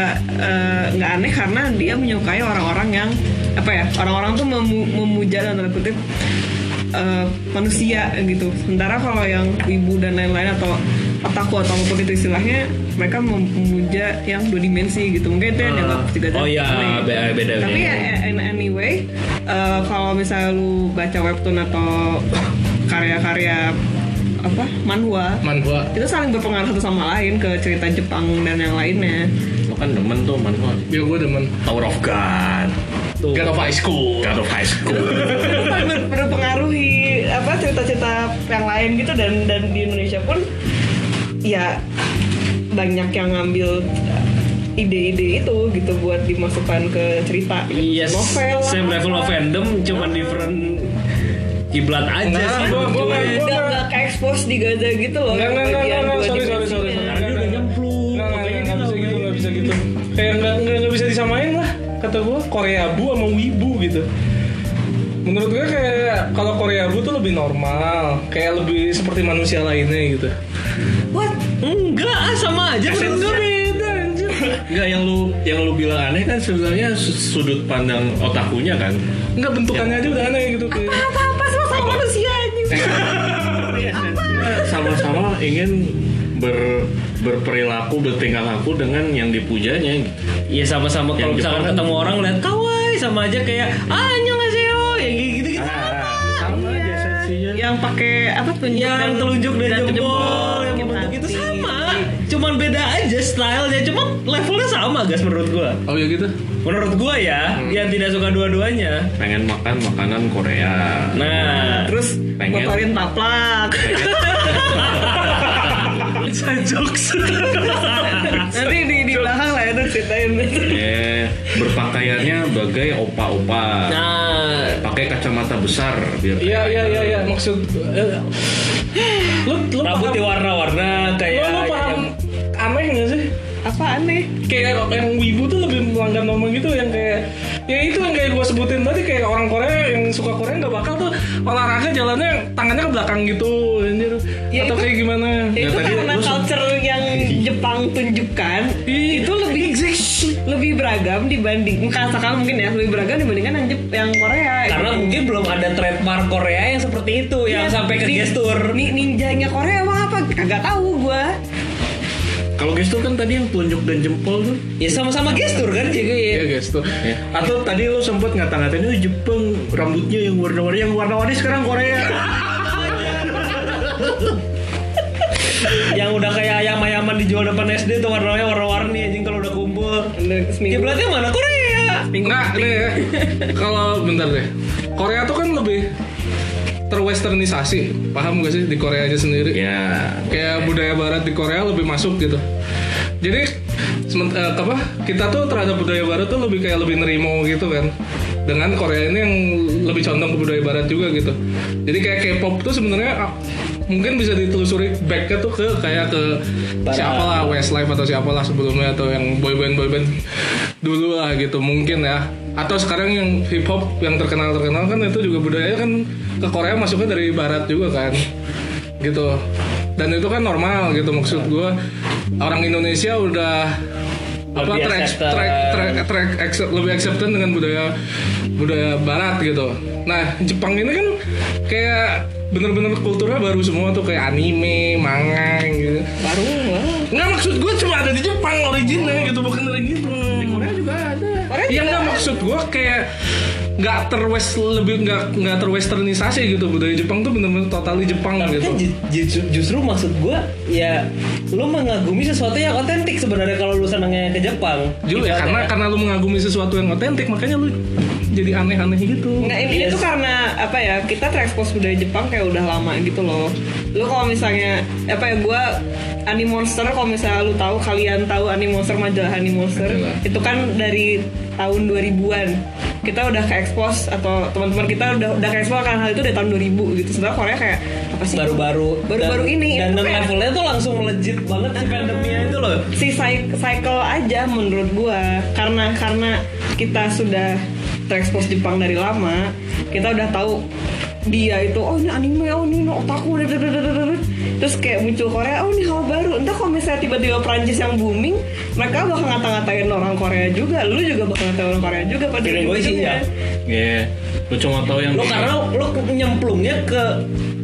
[SPEAKER 2] eh, nggak aneh karena dia menyukai orang-orang yang apa ya orang-orang tuh memu- memuja dan tanda kutip eh, manusia gitu sementara kalau yang ibu dan lain-lain atau otaku atau apapun itu istilahnya mereka mem- memuja yang dua dimensi gitu mungkin itu yang
[SPEAKER 5] Ah.
[SPEAKER 2] dianggap Nah, gitu. tidak
[SPEAKER 5] Oh iya,
[SPEAKER 2] aneh.
[SPEAKER 5] be- beda,
[SPEAKER 2] tapi
[SPEAKER 5] beda.
[SPEAKER 2] ya in anyway eh, kalau misalnya lu baca webtoon atau <laughs> karya-karya apa manhwa
[SPEAKER 3] Manhwa.
[SPEAKER 2] itu saling berpengaruh satu sama lain ke cerita Jepang dan yang lainnya
[SPEAKER 4] Lo kan demen tuh manhwa.
[SPEAKER 3] Ya gua demen.
[SPEAKER 4] Tower of God,
[SPEAKER 5] tuh.
[SPEAKER 3] God of High School.
[SPEAKER 4] God of High School.
[SPEAKER 2] Itu saling ber- berpengaruhi apa cerita-cerita yang lain gitu dan dan di Indonesia pun ya banyak yang ngambil uh, ide-ide itu gitu buat dimasukkan ke cerita gitu.
[SPEAKER 5] Yes,
[SPEAKER 2] novel lah,
[SPEAKER 5] Iya, same level
[SPEAKER 2] apa.
[SPEAKER 5] of fandom, cuman different kiblat aja
[SPEAKER 3] Nah,
[SPEAKER 5] sih.
[SPEAKER 3] gua- gua-
[SPEAKER 5] cuy.
[SPEAKER 3] gua-
[SPEAKER 2] nggak nggak ke expose di Gaza gitu loh
[SPEAKER 3] Enggak, enggak, enggak,
[SPEAKER 2] bagian
[SPEAKER 3] enggak,
[SPEAKER 2] dua
[SPEAKER 3] sorry, sorry,
[SPEAKER 2] dimensinya.
[SPEAKER 3] sorry, sorry.
[SPEAKER 5] Karena dia udah nyemplung,
[SPEAKER 3] Nggak, nggak,
[SPEAKER 5] makanya dia
[SPEAKER 3] nggak
[SPEAKER 5] nggak
[SPEAKER 3] bisa gitu, nggak bisa gitu. Kayak nggak nggak nggak bisa disamain lah. Kata gua Korea bu sama wibu gitu. Menurut gua kayak kalau Korea bu tuh lebih normal, kayak lebih seperti manusia lainnya gitu.
[SPEAKER 2] what
[SPEAKER 5] Enggak, ah, sama aja
[SPEAKER 3] Itu
[SPEAKER 5] menurut
[SPEAKER 3] beda anjir.
[SPEAKER 4] Enggak yang lu yang lu bilang aneh kan sebenarnya su- sudut pandang otakunya kan.
[SPEAKER 3] Enggak bentukannya aja udah aneh gitu kayak.
[SPEAKER 2] apa apa sama sama manusia anjing
[SPEAKER 4] Eh,
[SPEAKER 5] Iya.
[SPEAKER 4] Sama-sama ingin ber berperilaku bertingkah laku dengan yang dipujanya gitu.
[SPEAKER 5] Iya sama-sama
[SPEAKER 4] Yang
[SPEAKER 5] kalau misalkan
[SPEAKER 4] Jepang kan-
[SPEAKER 5] ketemu orang lihat kawaii sama aja kayak ah annyeonghaseyo yang kayak gitu-gitu.
[SPEAKER 4] Ah, sama aja sensinya.
[SPEAKER 2] yang pakai apa tunjuk
[SPEAKER 5] yang telunjuk dan, jempol, yang
[SPEAKER 2] Gitu.
[SPEAKER 5] bentuk itu sama. Cuman beda aja stylenya, cuma levelnya sama guys menurut gua.
[SPEAKER 3] Oh ya gitu.
[SPEAKER 5] Menurut gua ya,
[SPEAKER 4] Hmm.
[SPEAKER 5] yang tidak suka dua-duanya.
[SPEAKER 4] Pengen makan makanan Korea.
[SPEAKER 5] Nah,
[SPEAKER 2] terus
[SPEAKER 4] Pengen.
[SPEAKER 2] motorin
[SPEAKER 4] <laughs>
[SPEAKER 2] taplak
[SPEAKER 5] jokes.
[SPEAKER 2] nanti di di belakang lah ya tuh ceritain
[SPEAKER 4] Eh, berpakaiannya bagai opa-opa.
[SPEAKER 5] nah,
[SPEAKER 4] Pakai kacamata besar
[SPEAKER 3] Iya
[SPEAKER 4] biar kayak gitu.
[SPEAKER 3] iya iya
[SPEAKER 4] idol.
[SPEAKER 3] iya maksud eh, lu lu paham
[SPEAKER 5] rambutnya
[SPEAKER 3] lu,
[SPEAKER 5] warna-warna kayak
[SPEAKER 2] Ya,
[SPEAKER 3] lu paham aneh nggak sih?
[SPEAKER 2] apa aneh Iya.
[SPEAKER 3] kayak yang wibu tuh lebih melanggar norma gitu yang kayak ya itu yang kayak gue sebutin tadi kayak orang Korea yang suka Korea nggak bakal tuh olahraga jalannya tangannya ke belakang gitu anjir
[SPEAKER 2] Ya,
[SPEAKER 3] atau
[SPEAKER 2] itu-
[SPEAKER 3] kayak gimana
[SPEAKER 2] itu
[SPEAKER 4] Ya, tadi
[SPEAKER 2] karena
[SPEAKER 4] lu- Iya,
[SPEAKER 2] culture
[SPEAKER 4] <laughs>
[SPEAKER 2] yang Jepang tunjukkan
[SPEAKER 3] Ih,
[SPEAKER 2] itu lebih lebih beragam dibanding katakan mungkin ya lebih beragam dibandingkan yang Jep- yang Korea
[SPEAKER 5] karena
[SPEAKER 2] Gitu.
[SPEAKER 5] mungkin belum ada trademark Korea yang seperti itu yang
[SPEAKER 2] Iya,
[SPEAKER 5] sampai ke
[SPEAKER 2] di-
[SPEAKER 5] gestur.
[SPEAKER 2] ni- ninjanya Korea emang apa kagak tahu gua
[SPEAKER 4] Kalau gestur kan tadi yang telunjuk dan jempol tuh.
[SPEAKER 5] Ya sama-sama gestur
[SPEAKER 3] Iya
[SPEAKER 5] kan jadi
[SPEAKER 3] guys tuh
[SPEAKER 4] Ya. Atau tadi lo sempet ngata-ngatain oh, Jepang rambutnya yang warna-warni yang warna-warni sekarang Korea.
[SPEAKER 5] yang udah kayak ayam-ayaman dijual depan SD tuh warnanya warna-warni anjing kalau udah kumpul.
[SPEAKER 2] seminggu
[SPEAKER 5] Kiblatnya mana Korea?
[SPEAKER 3] Enggak deh
[SPEAKER 2] Iya.
[SPEAKER 3] ya. Kalau bentar deh. Korea tuh kan lebih terwesternisasi. Paham gak sih di Korea aja sendiri?
[SPEAKER 4] ya.
[SPEAKER 3] Kayak budaya barat di Korea lebih masuk gitu. Jadi sement- eh, apa? Kita tuh terhadap budaya barat tuh lebih kayak lebih nerimo gitu kan. Dengan Korea ini yang lebih condong ke budaya barat juga gitu. Jadi kayak K-pop tuh sebenarnya ah, mungkin bisa ditelusuri backnya tuh ke kayak ke siapalah Westlife atau siapalah sebelumnya atau yang boyband boyband dulu lah gitu mungkin ya atau sekarang yang hip hop yang terkenal terkenal kan itu juga budayanya kan ke Korea masuknya dari barat juga kan gitu dan itu kan normal gitu maksud gue orang Indonesia udah apa
[SPEAKER 5] Lebih
[SPEAKER 3] track
[SPEAKER 5] acceptance.
[SPEAKER 3] track track track accept- lebih acceptance dengan budaya budaya barat gitu nah Jepang ini kan kayak bener-bener kulturnya baru semua tuh kayak anime manga gitu
[SPEAKER 2] baru wah.
[SPEAKER 3] Nggak maksud gue cuma ada di Jepang originnya gitu bukan dari gitu. Di Korea juga ada.
[SPEAKER 2] Korea
[SPEAKER 3] Iya nggak maksud gue kayak nggak terwest lebih nggak nggak terwesternisasi gitu budaya Jepang tuh bener-bener totally Jepang gitu.
[SPEAKER 5] Kan ju- ju- justru maksud gua ya lu mengagumi sesuatu yang otentik sebenarnya kalau lu senangnya ke Jepang.
[SPEAKER 3] Juga ya, karena karena lu mengagumi sesuatu yang otentik makanya lu jadi aneh-aneh gitu.
[SPEAKER 2] Nggak, ini
[SPEAKER 5] Yes.
[SPEAKER 2] itu karena apa ya kita terekspos budaya Jepang kayak udah lama gitu loh. Lu kalau misalnya apa ya gue Anime Monster kalau misalnya lu tahu kalian tahu Anime Monster majalah Anime Monster
[SPEAKER 5] Iya.
[SPEAKER 4] Majalah.
[SPEAKER 2] itu kan dari tahun 2000-an kita udah ke expose atau teman-teman kita udah udah ke expose akan hal itu dari tahun 2000 gitu sebenarnya Korea kayak apa sih
[SPEAKER 5] baru-baru
[SPEAKER 2] baru-baru
[SPEAKER 5] Dan-
[SPEAKER 2] ini
[SPEAKER 5] dan
[SPEAKER 2] itu
[SPEAKER 5] dan
[SPEAKER 2] kayak-
[SPEAKER 5] levelnya tuh langsung legit banget si pandemnya itu loh
[SPEAKER 2] si cy- cycle aja menurut gua karena karena kita sudah terekspos Jepang dari lama kita udah tahu dia itu oh ini anime oh ini otaku <laughs> dadadadadadad. terus kayak muncul Korea oh ini hal baru entah kalau misalnya tiba-tiba Prancis yang booming mereka bakal ngata-ngatain orang Korea juga lu juga bakal ngatain orang Korea juga pada
[SPEAKER 5] Feeling gue sih
[SPEAKER 2] ujung-ujungnya.
[SPEAKER 5] ya.
[SPEAKER 4] Iya. Lu cuma tahu yang
[SPEAKER 5] Lo karena lo nyemplungnya ke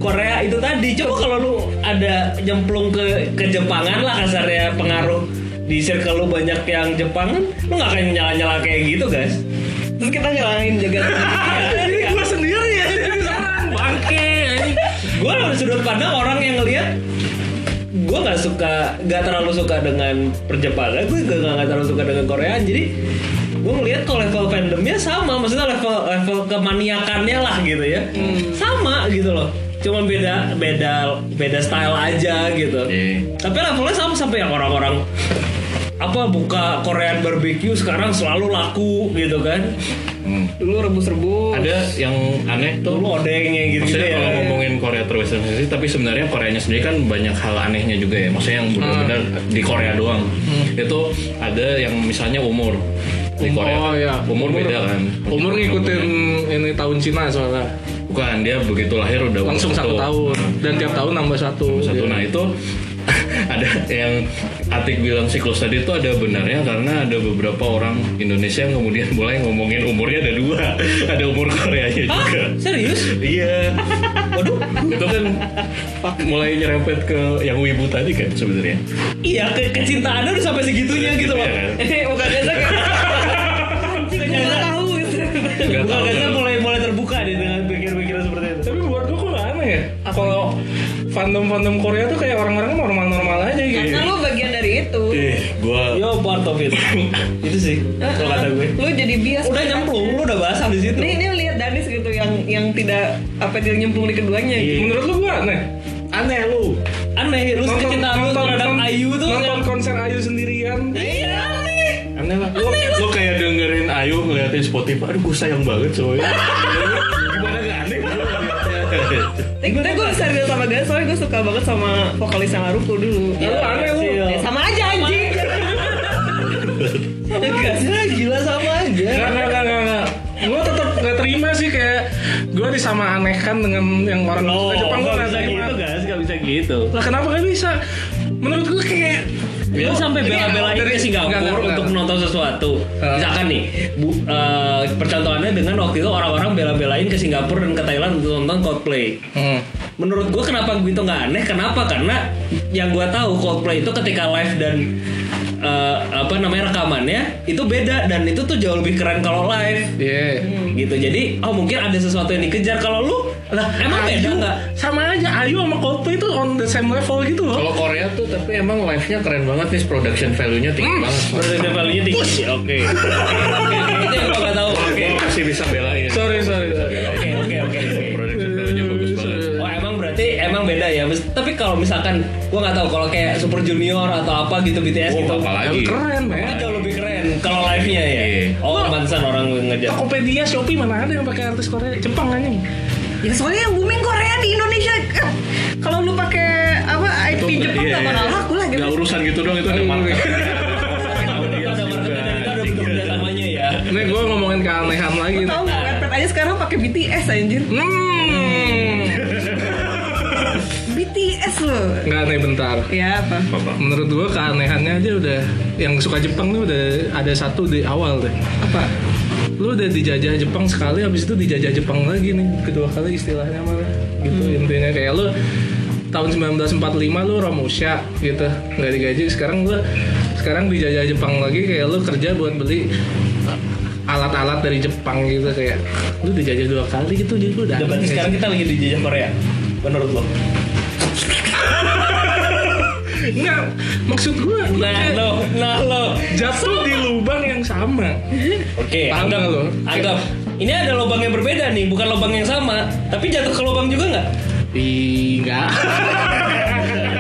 [SPEAKER 5] Korea itu tadi. Coba kalau lu ada nyemplung ke ke Jepangan lah kasarnya pengaruh di circle lu banyak yang Jepang kan lu nggak akan nyala-nyala kayak gitu guys
[SPEAKER 3] <laughs>
[SPEAKER 2] terus kita nyalahin jaga
[SPEAKER 5] Jadi gua
[SPEAKER 2] sendiri ya
[SPEAKER 5] iya. bangke gue sudut pandang orang yang ngelihat gue nggak suka nggak terlalu suka dengan perjepanan gue juga nggak terlalu suka dengan Koreaan jadi gue ngelihat kalau level fandomnya sama maksudnya level level kemaniakannya lah gitu ya
[SPEAKER 4] Hmm.
[SPEAKER 5] sama gitu loh cuman beda beda beda style aja gitu
[SPEAKER 4] Iya.
[SPEAKER 5] tapi levelnya sama sampai yang orang-orang apa buka Korean barbecue sekarang selalu laku gitu kan
[SPEAKER 4] Hmm.
[SPEAKER 2] dulu rebus-rebus
[SPEAKER 4] Ada yang aneh tuh
[SPEAKER 5] dulu odengnya gitu, gitu
[SPEAKER 4] Maksudnya
[SPEAKER 5] ya
[SPEAKER 4] kalau ngomongin Korea terwesternisasi tapi sebenarnya Koreanya sendiri kan banyak hal anehnya juga ya. Maksudnya yang benar-benar
[SPEAKER 3] Hmm.
[SPEAKER 4] di Korea doang. Itu ada yang misalnya umur. Di Korea
[SPEAKER 3] Oh
[SPEAKER 4] kan
[SPEAKER 3] iya.
[SPEAKER 4] umur, beda kan.
[SPEAKER 3] Umur ngikutin ini tahun Cina soalnya.
[SPEAKER 4] Bukan dia begitu lahir udah umur
[SPEAKER 3] Langsung satu tahun dan tiap tahun nambah satu.
[SPEAKER 4] satu.
[SPEAKER 3] Iya.
[SPEAKER 4] Nah itu <laughs> ada yang Atik bilang siklus tadi itu ada benarnya karena ada beberapa orang Indonesia yang kemudian <laughs> mulai ngomongin umurnya ada dua, ada umur Koreanya
[SPEAKER 5] Hah?
[SPEAKER 4] juga.
[SPEAKER 5] serius
[SPEAKER 4] Iya. Waduh, itu kan mulai nyerempet ke yang wibu tadi kan sebenarnya.
[SPEAKER 5] Iya, ke kecintaannya udah sampai segitunya gitu loh.
[SPEAKER 4] Iya, kan?
[SPEAKER 2] eh <laughs> bukan biasa kayak anjing gua nggak tahu
[SPEAKER 4] Nggak
[SPEAKER 5] Gua
[SPEAKER 4] tahu,
[SPEAKER 5] rasa
[SPEAKER 4] nggak tahu.
[SPEAKER 5] mulai mulai terbuka deh dengan pikiran-pikiran seperti itu.
[SPEAKER 3] Tapi buat gue kok nggak aneh ya. Kalau fandom-fandom Korea tuh kayak orang-orang normal-normal aja gitu.
[SPEAKER 2] karena lu bagian dari itu
[SPEAKER 4] Ih, Eh, gua
[SPEAKER 5] Yo part of
[SPEAKER 3] <laughs>
[SPEAKER 5] it. itu sih kalau kata gue.
[SPEAKER 2] lu jadi bias
[SPEAKER 5] Udah nyemplung, lu udah basah di situ.
[SPEAKER 2] ini ini lihat Danis gitu yang yang tidak apa dia nyemplung di keduanya gitu.
[SPEAKER 3] Menurut lu gue aneh. Aneh lu.
[SPEAKER 5] Aneh, lu kecintaan lu terhadap
[SPEAKER 3] nonton-
[SPEAKER 5] Ayu tuh.
[SPEAKER 3] nonton
[SPEAKER 5] kan-
[SPEAKER 3] konser Ayu sendirian.
[SPEAKER 5] Iya.
[SPEAKER 4] aneh lah. Lu, lu kayak dengerin Ayu ngeliatin Spotify. Aduh, gua sayang banget coy. Gimana gak aneh?
[SPEAKER 2] Tapi gue bisa relate sama Ganes soalnya gue suka banget sama vokalis yang Aruku dulu.
[SPEAKER 5] Ya, lu aneh, lu.
[SPEAKER 2] Ya, sama aja anjing.
[SPEAKER 5] Enggak sih, gila sama aja.
[SPEAKER 3] Gak, gak, gak, gak, gak. Gue tetap gak terima sih kayak gue disama anehkan dengan yang orang
[SPEAKER 5] Loh,
[SPEAKER 3] suka Jepang gue
[SPEAKER 5] nggak
[SPEAKER 3] gak
[SPEAKER 5] bisa
[SPEAKER 3] terima.
[SPEAKER 5] gitu guys, nggak bisa gitu.
[SPEAKER 3] Lah kenapa gak bisa? Menurut gue kayak
[SPEAKER 5] Lu sampai bela-belain
[SPEAKER 3] Iya. dari-
[SPEAKER 5] ke Singapura
[SPEAKER 3] enggak, enggak, enggak.
[SPEAKER 5] untuk menonton sesuatu.
[SPEAKER 3] Ah.
[SPEAKER 5] Misalkan nih, bu, eh, percontohannya dengan waktu itu orang-orang bela-belain ke Singapura dan ke Thailand untuk nonton Coldplay.
[SPEAKER 3] Hmm.
[SPEAKER 5] Menurut gue kenapa gitu nggak aneh? Kenapa? Karena yang gue tahu Coldplay itu ketika live dan eh, apa namanya rekamannya itu beda dan itu tuh jauh lebih keren kalau live
[SPEAKER 3] Iya.
[SPEAKER 5] gitu. Jadi oh mungkin ada sesuatu yang dikejar kalau lu lah emang beda
[SPEAKER 3] Ayu,
[SPEAKER 5] nggak?
[SPEAKER 3] Sama aja Ayu sama Coldplay itu on the same level gitu loh.
[SPEAKER 4] Kalau Korea tuh tapi emang live-nya keren banget nih production value-nya tinggi banget.
[SPEAKER 5] Berarti value tinggi. Oke. Oke, oke. Itu yang gue nggak tahu.
[SPEAKER 4] Oke, masih bisa belain.
[SPEAKER 3] Sorry sorry. sorry.
[SPEAKER 5] Oke, oke, oke. oke.
[SPEAKER 4] Production value-nya bagus banget.
[SPEAKER 5] Oh emang berarti emang beda ya. Mis- Tapi kalau misalkan gua nggak tahu kalau kayak Super Junior atau apa gitu BTS
[SPEAKER 4] Oh,
[SPEAKER 5] gitu.
[SPEAKER 4] apalagi.
[SPEAKER 3] Keren ya.
[SPEAKER 5] Itu jauh lebih keren kalau live-nya ya.
[SPEAKER 4] Iya.
[SPEAKER 5] Oh, pantesan orang ngejar.
[SPEAKER 3] Tokopedia, Shopee mana ada yang pakai artis Korea? Jepang anjing.
[SPEAKER 2] Ya soalnya yang booming Korea di Indonesia. Eh, Kalau lu pakai apa IP Jepang
[SPEAKER 4] Iya,
[SPEAKER 2] gak
[SPEAKER 4] iya.
[SPEAKER 2] bakal laku lah gitu.
[SPEAKER 4] Nggak urusan gitu doang itu ada market.
[SPEAKER 5] Kita udah marketing, kita udah bentuk kerjasamanya ya.
[SPEAKER 3] Nih gue ngomongin keanehan lagi. nih.
[SPEAKER 2] Tahu nggak Wattpad aja sekarang pakai BTS anjir.
[SPEAKER 3] Hmm.
[SPEAKER 2] BTS loh.
[SPEAKER 3] Enggak nih bentar.
[SPEAKER 2] Ya apa?
[SPEAKER 3] Menurut gue keanehannya aja udah yang suka Jepang tuh udah ada satu di awal deh.
[SPEAKER 2] Apa?
[SPEAKER 3] Lu udah dijajah Jepang sekali habis itu dijajah Jepang lagi nih kedua kali istilahnya malah gitu
[SPEAKER 5] Hmm.
[SPEAKER 3] intinya kayak lu tahun 1945 lu Romusha gitu nggak digaji sekarang lu sekarang dijajah Jepang lagi kayak lu kerja buat beli eh, alat-alat dari Jepang gitu kayak lu dijajah dua kali gitu jadi lu udah
[SPEAKER 5] Udah, Berarti
[SPEAKER 3] aneh.
[SPEAKER 5] sekarang kita lagi di jajah Korea. Menurut lo?
[SPEAKER 3] Enggak, maksud gue
[SPEAKER 5] Nah, lo, nah lo.
[SPEAKER 3] jatuh di lubang yang sama.
[SPEAKER 5] Oke,
[SPEAKER 3] Paham
[SPEAKER 5] anggap,
[SPEAKER 3] nggak lo?
[SPEAKER 5] anggap. Ini ada lubang yang berbeda nih, bukan lubang yang sama. Tapi jatuh ke lubang juga nggak?
[SPEAKER 3] Ih, enggak.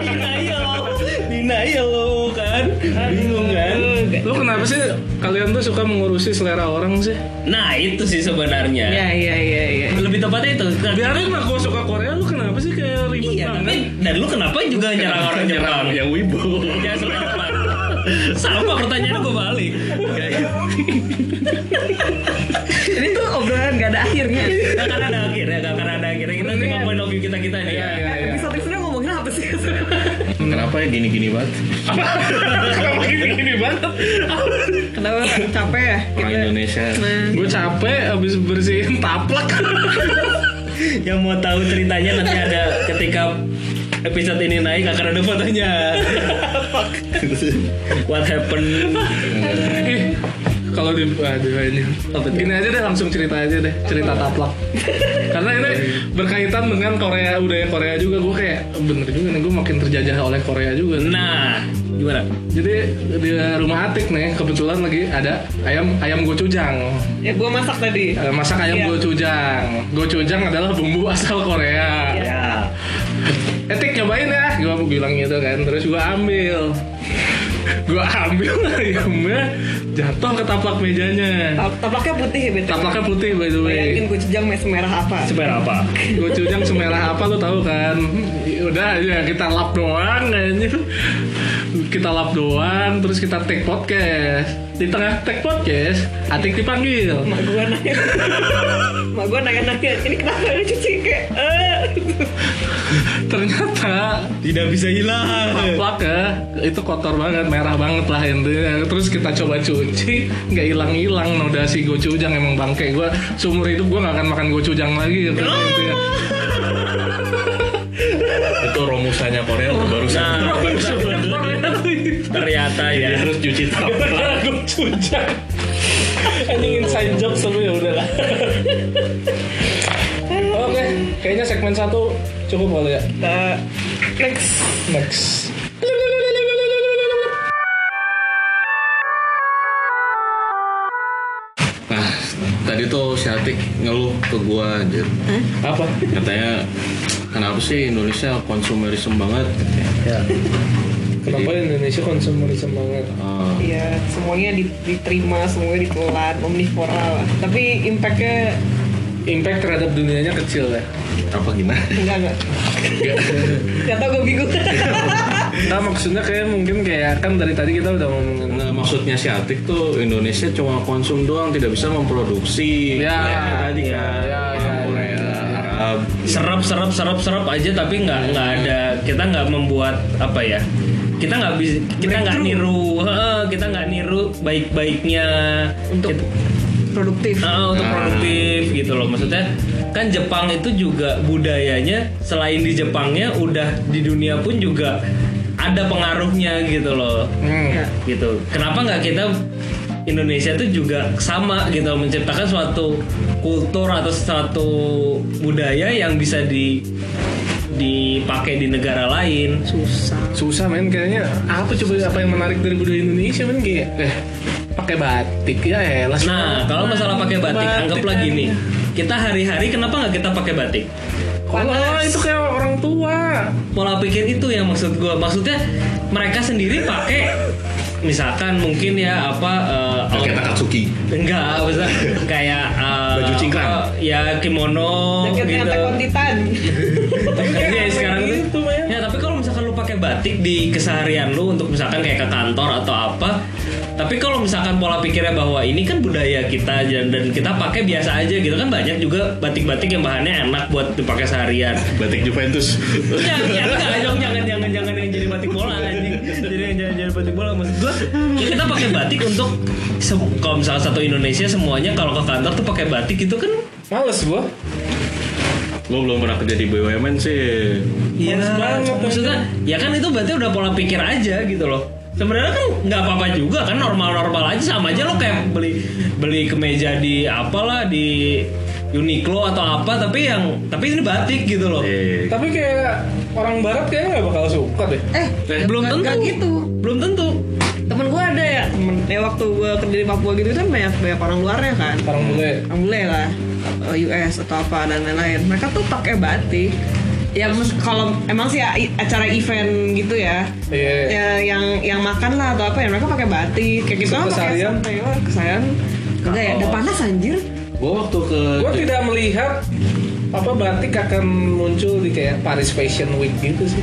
[SPEAKER 5] Denial, denial kan bingung kan
[SPEAKER 3] Lo kenapa sih kalian tuh suka mengurusi selera orang sih?
[SPEAKER 5] nah itu sih sebenarnya
[SPEAKER 2] Iya iya iya iya.
[SPEAKER 5] lebih tepatnya itu Nah,
[SPEAKER 3] Biarin lah gue suka Korea, lu kenapa sih kayak ribet
[SPEAKER 5] iya
[SPEAKER 3] banget?
[SPEAKER 5] tapi dan lu kenapa juga nyerang orang Jepang
[SPEAKER 4] ya wibu
[SPEAKER 5] Ya, sebenarnya. sama pertanyaan gue balik
[SPEAKER 2] Ini tuh obrolan gak ada akhirnya.
[SPEAKER 5] gak akan ada akhirnya gak akan ada akhirnya kita cuma point of view kita kita nih
[SPEAKER 3] Iya,
[SPEAKER 5] ya
[SPEAKER 2] Episode episode ngomongin apa sih?
[SPEAKER 4] kenapa ya gini-gini banget kenapa gini-gini banget
[SPEAKER 2] Kenapa capek ya?
[SPEAKER 4] orang Indonesia
[SPEAKER 2] Nah,
[SPEAKER 3] Gue capek abis bersihin taplak. <laughs>
[SPEAKER 5] yang mau tahu ceritanya nanti ada ketika episode ini naik akan ada <laughs> fotonya what happened
[SPEAKER 3] Ih, Kalau di aduh ini.
[SPEAKER 5] Apa tuh?
[SPEAKER 3] Gini aja deh langsung cerita aja deh, cerita taplak. Karena ini berkaitan dengan Korea, budaya Korea juga gue kayak bener juga nih gue makin terjajah oleh Korea juga.
[SPEAKER 5] nah gimana
[SPEAKER 3] Jadi di rumah Atik nih kebetulan lagi ada ayam ayam gochujang.
[SPEAKER 2] ya gue masak tadi.
[SPEAKER 3] Eh, Masak ayam
[SPEAKER 2] Iya.
[SPEAKER 3] gochujang. Gochujang adalah bumbu asal Korea.
[SPEAKER 5] ya
[SPEAKER 3] Etik nyobain ya, gua mau bilang gitu kan, terus gua ambil, gua ambil <laughs> ayamnya jatuh ke taplak mejanya.
[SPEAKER 2] Tap- Taplaknya putih ya betul.
[SPEAKER 3] Taplaknya putih by the way.
[SPEAKER 2] Bayangin gue cejang mes merah apa?
[SPEAKER 5] sebenarnya apa
[SPEAKER 3] Gue cujang semerah apa lu tahu kan? Udah aja kita lap doang kayaknya. Kita lap doang, terus kita take podcast. Di tengah take podcast, Atik dipanggil.
[SPEAKER 2] Mak gue nanya. Mak gue nanya-nanya. Ini kenapa ini cuci kayak? eh.
[SPEAKER 3] Ternyata
[SPEAKER 5] tidak bisa hilang
[SPEAKER 3] taplak ya itu kotor banget merah banget lah intinya terus kita coba cuci nggak hilang hilang noda si gochujang emang bangke gue seumur hidup gue nggak akan makan gochujang lagi gitu ya.
[SPEAKER 4] itu romusannya Korea baru
[SPEAKER 5] nah ternyata ya
[SPEAKER 4] jadi harus cuci taplak
[SPEAKER 3] gochujang ini inside joke tapi ya udah lah <laughs> oke kayaknya segmen satu cukup kali ya
[SPEAKER 2] Eh, Next.
[SPEAKER 3] next
[SPEAKER 4] nah tadi tuh si Atik ngeluh ke gua anjir
[SPEAKER 3] apa
[SPEAKER 4] katanya kenapa sih Indonesia konsumerisme banget
[SPEAKER 3] kenapa Indonesia konsumerisme banget
[SPEAKER 4] Eh,
[SPEAKER 2] Iya, semuanya di- diterima, semuanya ditelan, omnivoral. lah. Tapi impactnya
[SPEAKER 3] impact terhadap dunianya kecil ya
[SPEAKER 4] apa gimana
[SPEAKER 2] enggak enggak. Gak tau gue bingung.
[SPEAKER 3] Nah maksudnya kayak mungkin kayak kan dari tadi kita udah ngomongin
[SPEAKER 4] Nah, maksudnya si Atik tuh Indonesia cuma konsum doang, tidak bisa memproduksi.
[SPEAKER 3] Ya,
[SPEAKER 4] Kayak tadi
[SPEAKER 3] ya,
[SPEAKER 4] kan.
[SPEAKER 3] ya,
[SPEAKER 4] Orang
[SPEAKER 3] ya,
[SPEAKER 4] Korea,
[SPEAKER 3] ya, ya.
[SPEAKER 4] Arab.
[SPEAKER 5] serap serap serap serap aja tapi nggak nggak ada kita nggak membuat apa ya kita nggak bisa kita nggak niru heeh, kita nggak niru baik baiknya
[SPEAKER 2] Untuk produktif.
[SPEAKER 5] Ah, untuk produktif gitu loh maksudnya kan Jepang itu juga budayanya selain di Jepangnya udah di dunia pun juga ada pengaruhnya gitu loh
[SPEAKER 2] Ya.
[SPEAKER 5] gitu. Kenapa nggak kita Indonesia tuh juga sama gitu menciptakan suatu kultur atau suatu budaya yang bisa di dipakai di negara lain.
[SPEAKER 2] Susah.
[SPEAKER 3] Susah men kayaknya apa coba apa yang menarik dari budaya Indonesia men kayak eh, pakai batik ya elah
[SPEAKER 5] Nah, kalau masalah pakai batik,
[SPEAKER 3] Batik
[SPEAKER 5] anggaplah
[SPEAKER 3] aja.
[SPEAKER 5] gini. Kita hari-hari kenapa nggak kita pakai batik?
[SPEAKER 3] kalau oh, itu kayak orang tua
[SPEAKER 5] Pola pikir itu yang maksud gua. Maksudnya mereka sendiri pakai misalkan mungkin ya apa eh,
[SPEAKER 4] Pakai Takatsuki.
[SPEAKER 5] enggak maksudnya kayak eh,
[SPEAKER 4] Baju cingkrang.
[SPEAKER 5] apa, ya kimono
[SPEAKER 2] Jaketnya
[SPEAKER 5] gitu.
[SPEAKER 2] Attack on Titan.
[SPEAKER 5] Tapi ya, sekarang tuh-
[SPEAKER 3] gitu men
[SPEAKER 5] Ya tapi kalau misalkan lu pakai batik di keseharian lu untuk misalkan kayak ke kantor atau apa, tapi kalau misalkan pola pikirnya bahwa ini kan budaya kita dan dan kita pakai biasa aja gitu kan banyak juga batik-batik yang bahannya enak buat dipakai seharian.
[SPEAKER 4] Batik Juventus.
[SPEAKER 5] Jangan, jangan, jangan, jangan, jangan, jangan yang jadi batik bola anjing. Jadi yang jadi, jadi batik bola maksud gua. ya kita pakai batik untuk se- kalau misalnya satu Indonesia semuanya kalau ke kantor tuh pakai batik itu kan
[SPEAKER 3] males gua
[SPEAKER 4] Gue belum pernah kerja di BUMN sih.
[SPEAKER 5] Iya,
[SPEAKER 3] Males banget,
[SPEAKER 5] maksudnya ya kan itu berarti udah pola pikir aja gitu loh. Sebenarnya kan nggak apa-apa juga kan normal-normal aja sama aja lo kayak beli beli kemeja di apalah di Uniqlo atau apa tapi yang tapi ini batik gitu loh.
[SPEAKER 4] Eh,
[SPEAKER 3] tapi kayak orang barat kayaknya nggak bakal suka deh
[SPEAKER 2] Eh,
[SPEAKER 5] Belum tentu.
[SPEAKER 2] Gak gitu.
[SPEAKER 5] Belum tentu.
[SPEAKER 2] Temen gue ada ya. Temen, ya waktu gue kerja di Papua gitu kan banyak banyak orang luarnya kan.
[SPEAKER 3] orang bule
[SPEAKER 2] Orang bule lah. eh, US atau apa dan lain-lain. Mereka tuh pakai batik. ya mes- kalau emang sih a- acara event gitu ya
[SPEAKER 3] Iya.
[SPEAKER 2] ya, yang yang makan lah atau apa ya mereka pakai batik kayak
[SPEAKER 3] Terus
[SPEAKER 2] gitu kan pakai
[SPEAKER 3] keseharian?
[SPEAKER 2] santai wah, keseharian enggak ya udah panas anjir
[SPEAKER 4] Gue waktu ke
[SPEAKER 3] Gue tidak melihat apa batik akan muncul di kayak Paris Fashion Week gitu sih.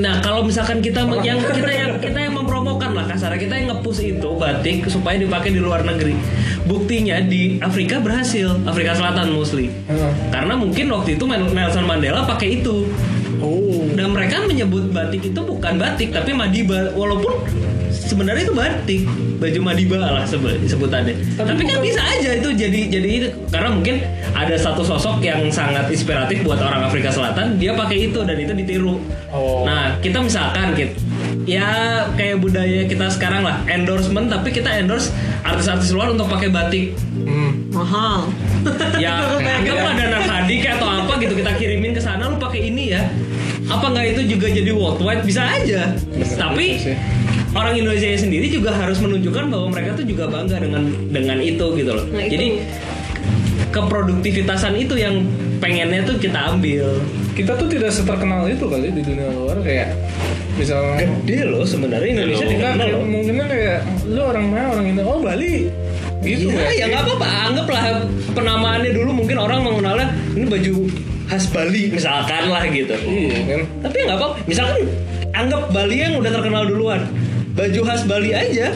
[SPEAKER 5] Nah kalau misalkan kita me- yang kita yang kita yang mempromokan lah kasarnya kita yang ngepush itu batik supaya dipakai di luar negeri. Buktinya di Afrika berhasil, Afrika Selatan mostly. Karena mungkin waktu itu Man- Nelson Mandela pakai itu.
[SPEAKER 3] Oh.
[SPEAKER 5] Dan mereka menyebut batik itu bukan batik tapi madiba walaupun sebenarnya itu batik baju madiba lah sebe- sebutannya tapi, kan bisa aja itu jadi jadi itu karena mungkin ada satu sosok yang sangat inspiratif buat orang Afrika Selatan dia pakai itu dan itu ditiru
[SPEAKER 3] Oh.
[SPEAKER 5] nah kita misalkan kita ya kayak budaya kita sekarang lah endorsement tapi kita endorse artis-artis luar untuk pakai batik
[SPEAKER 2] mahal
[SPEAKER 5] ya anggaplah dana hadik atau apa gitu kita kirimin ke sana lu pakai ini ya apa nggak itu juga jadi worldwide bisa aja tapi
[SPEAKER 3] sih.
[SPEAKER 5] orang Indonesia sendiri juga harus menunjukkan bahwa mereka tuh juga bangga dengan dengan itu gitu loh
[SPEAKER 2] Nah, itu.
[SPEAKER 5] jadi keproduktivitasan itu yang pengennya tuh kita ambil
[SPEAKER 3] Kita tuh tidak seterkenal itu kali di dunia luar kayak misalnya
[SPEAKER 5] gede loh sebenarnya Indonesia
[SPEAKER 4] Gede
[SPEAKER 3] Nah,
[SPEAKER 5] dikenal
[SPEAKER 3] kayak
[SPEAKER 5] loh
[SPEAKER 3] mungkinnya kayak lu orang mana orang ini oh Bali gitu
[SPEAKER 5] Iya,
[SPEAKER 3] nggak
[SPEAKER 5] ya
[SPEAKER 3] sih?
[SPEAKER 5] nggak apa-apa. Anggaplah penamaannya dulu mungkin orang mengenalnya ini baju khas Bali misalkan lah gitu.
[SPEAKER 3] Iya kan.
[SPEAKER 5] Tapi ya nggak apa-apa. Misalkan anggap Bali yang udah terkenal duluan, baju khas Bali aja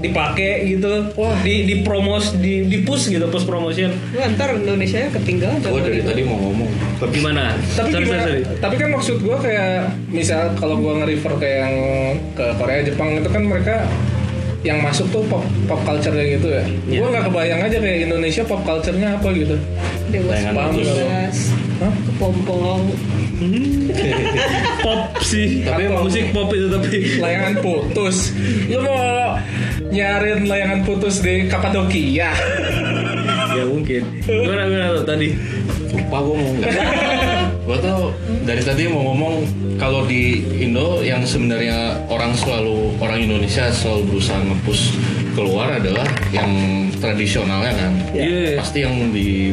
[SPEAKER 5] dipakai gitu, di di promos, di di push gitu, push promotion.
[SPEAKER 2] Wah, ntar Indonesia ketinggalan
[SPEAKER 4] Gue dari tadi mau ngomong.
[SPEAKER 5] Gimana?
[SPEAKER 3] tapi
[SPEAKER 5] Sorry,
[SPEAKER 3] gimana-
[SPEAKER 5] sorry, sorry.
[SPEAKER 3] tapi kan maksud gue kayak misal kalau gue nge-refer ke yang ke Korea Jepang itu kan mereka yang masuk tuh pop pop culture gitu ya
[SPEAKER 5] Iya.
[SPEAKER 3] gue nggak kebayang aja kayak Indonesia pop culture-nya apa gitu
[SPEAKER 2] dewasa
[SPEAKER 4] Layangan
[SPEAKER 3] Paham
[SPEAKER 4] putus.
[SPEAKER 2] bebas,
[SPEAKER 3] Hah?
[SPEAKER 2] kepompong
[SPEAKER 5] Pop sih.
[SPEAKER 3] Tapi emang-
[SPEAKER 5] musik pop itu tapi
[SPEAKER 3] layangan putus lu mau nyarin layangan putus di Kapadokia
[SPEAKER 5] <laughs> ya mungkin. Gimana gimana tuh tadi?
[SPEAKER 4] Lupa gue mau nggak. gue tuh dari tadi mau ngomong kalau di Indo yang sebenarnya orang selalu orang Indonesia selalu berusaha nge-push keluar adalah yang tradisionalnya kan.
[SPEAKER 5] Iya.
[SPEAKER 4] Pasti yang di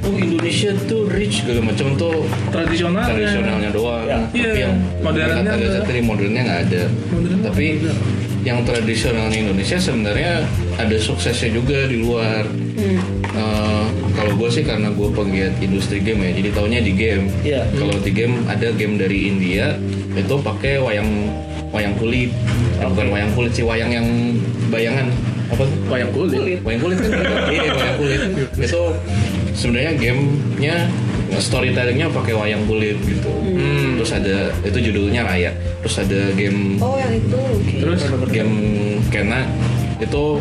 [SPEAKER 4] Oh Indonesia tuh rich segala macam tuh
[SPEAKER 3] tradisional
[SPEAKER 4] tradisionalnya doang. Tapi
[SPEAKER 3] Iya.
[SPEAKER 4] yang
[SPEAKER 3] Modernnya
[SPEAKER 4] ada
[SPEAKER 3] ada.
[SPEAKER 4] tadi modernnya nggak ada. Tapi yang tradisionalnya Indonesia sebenarnya ada suksesnya juga di luar. Eh, kalau gue sih karena gue penggiat industri game ya, jadi taunya di game.
[SPEAKER 5] Iya.
[SPEAKER 4] Kalau di game ada game dari India itu pakai wayang wayang kulit, Eh, bukan wayang kulit sih wayang yang bayangan apa? tuh?
[SPEAKER 3] wayang kulit
[SPEAKER 4] Wayang kulit kan? <laughs> Iya, wayang kulit. Itu sebenarnya gamenya storytellingnya pakai wayang kulit gitu. Terus ada itu judulnya Raya. Terus ada game
[SPEAKER 2] oh yang itu
[SPEAKER 4] terus game Kena itu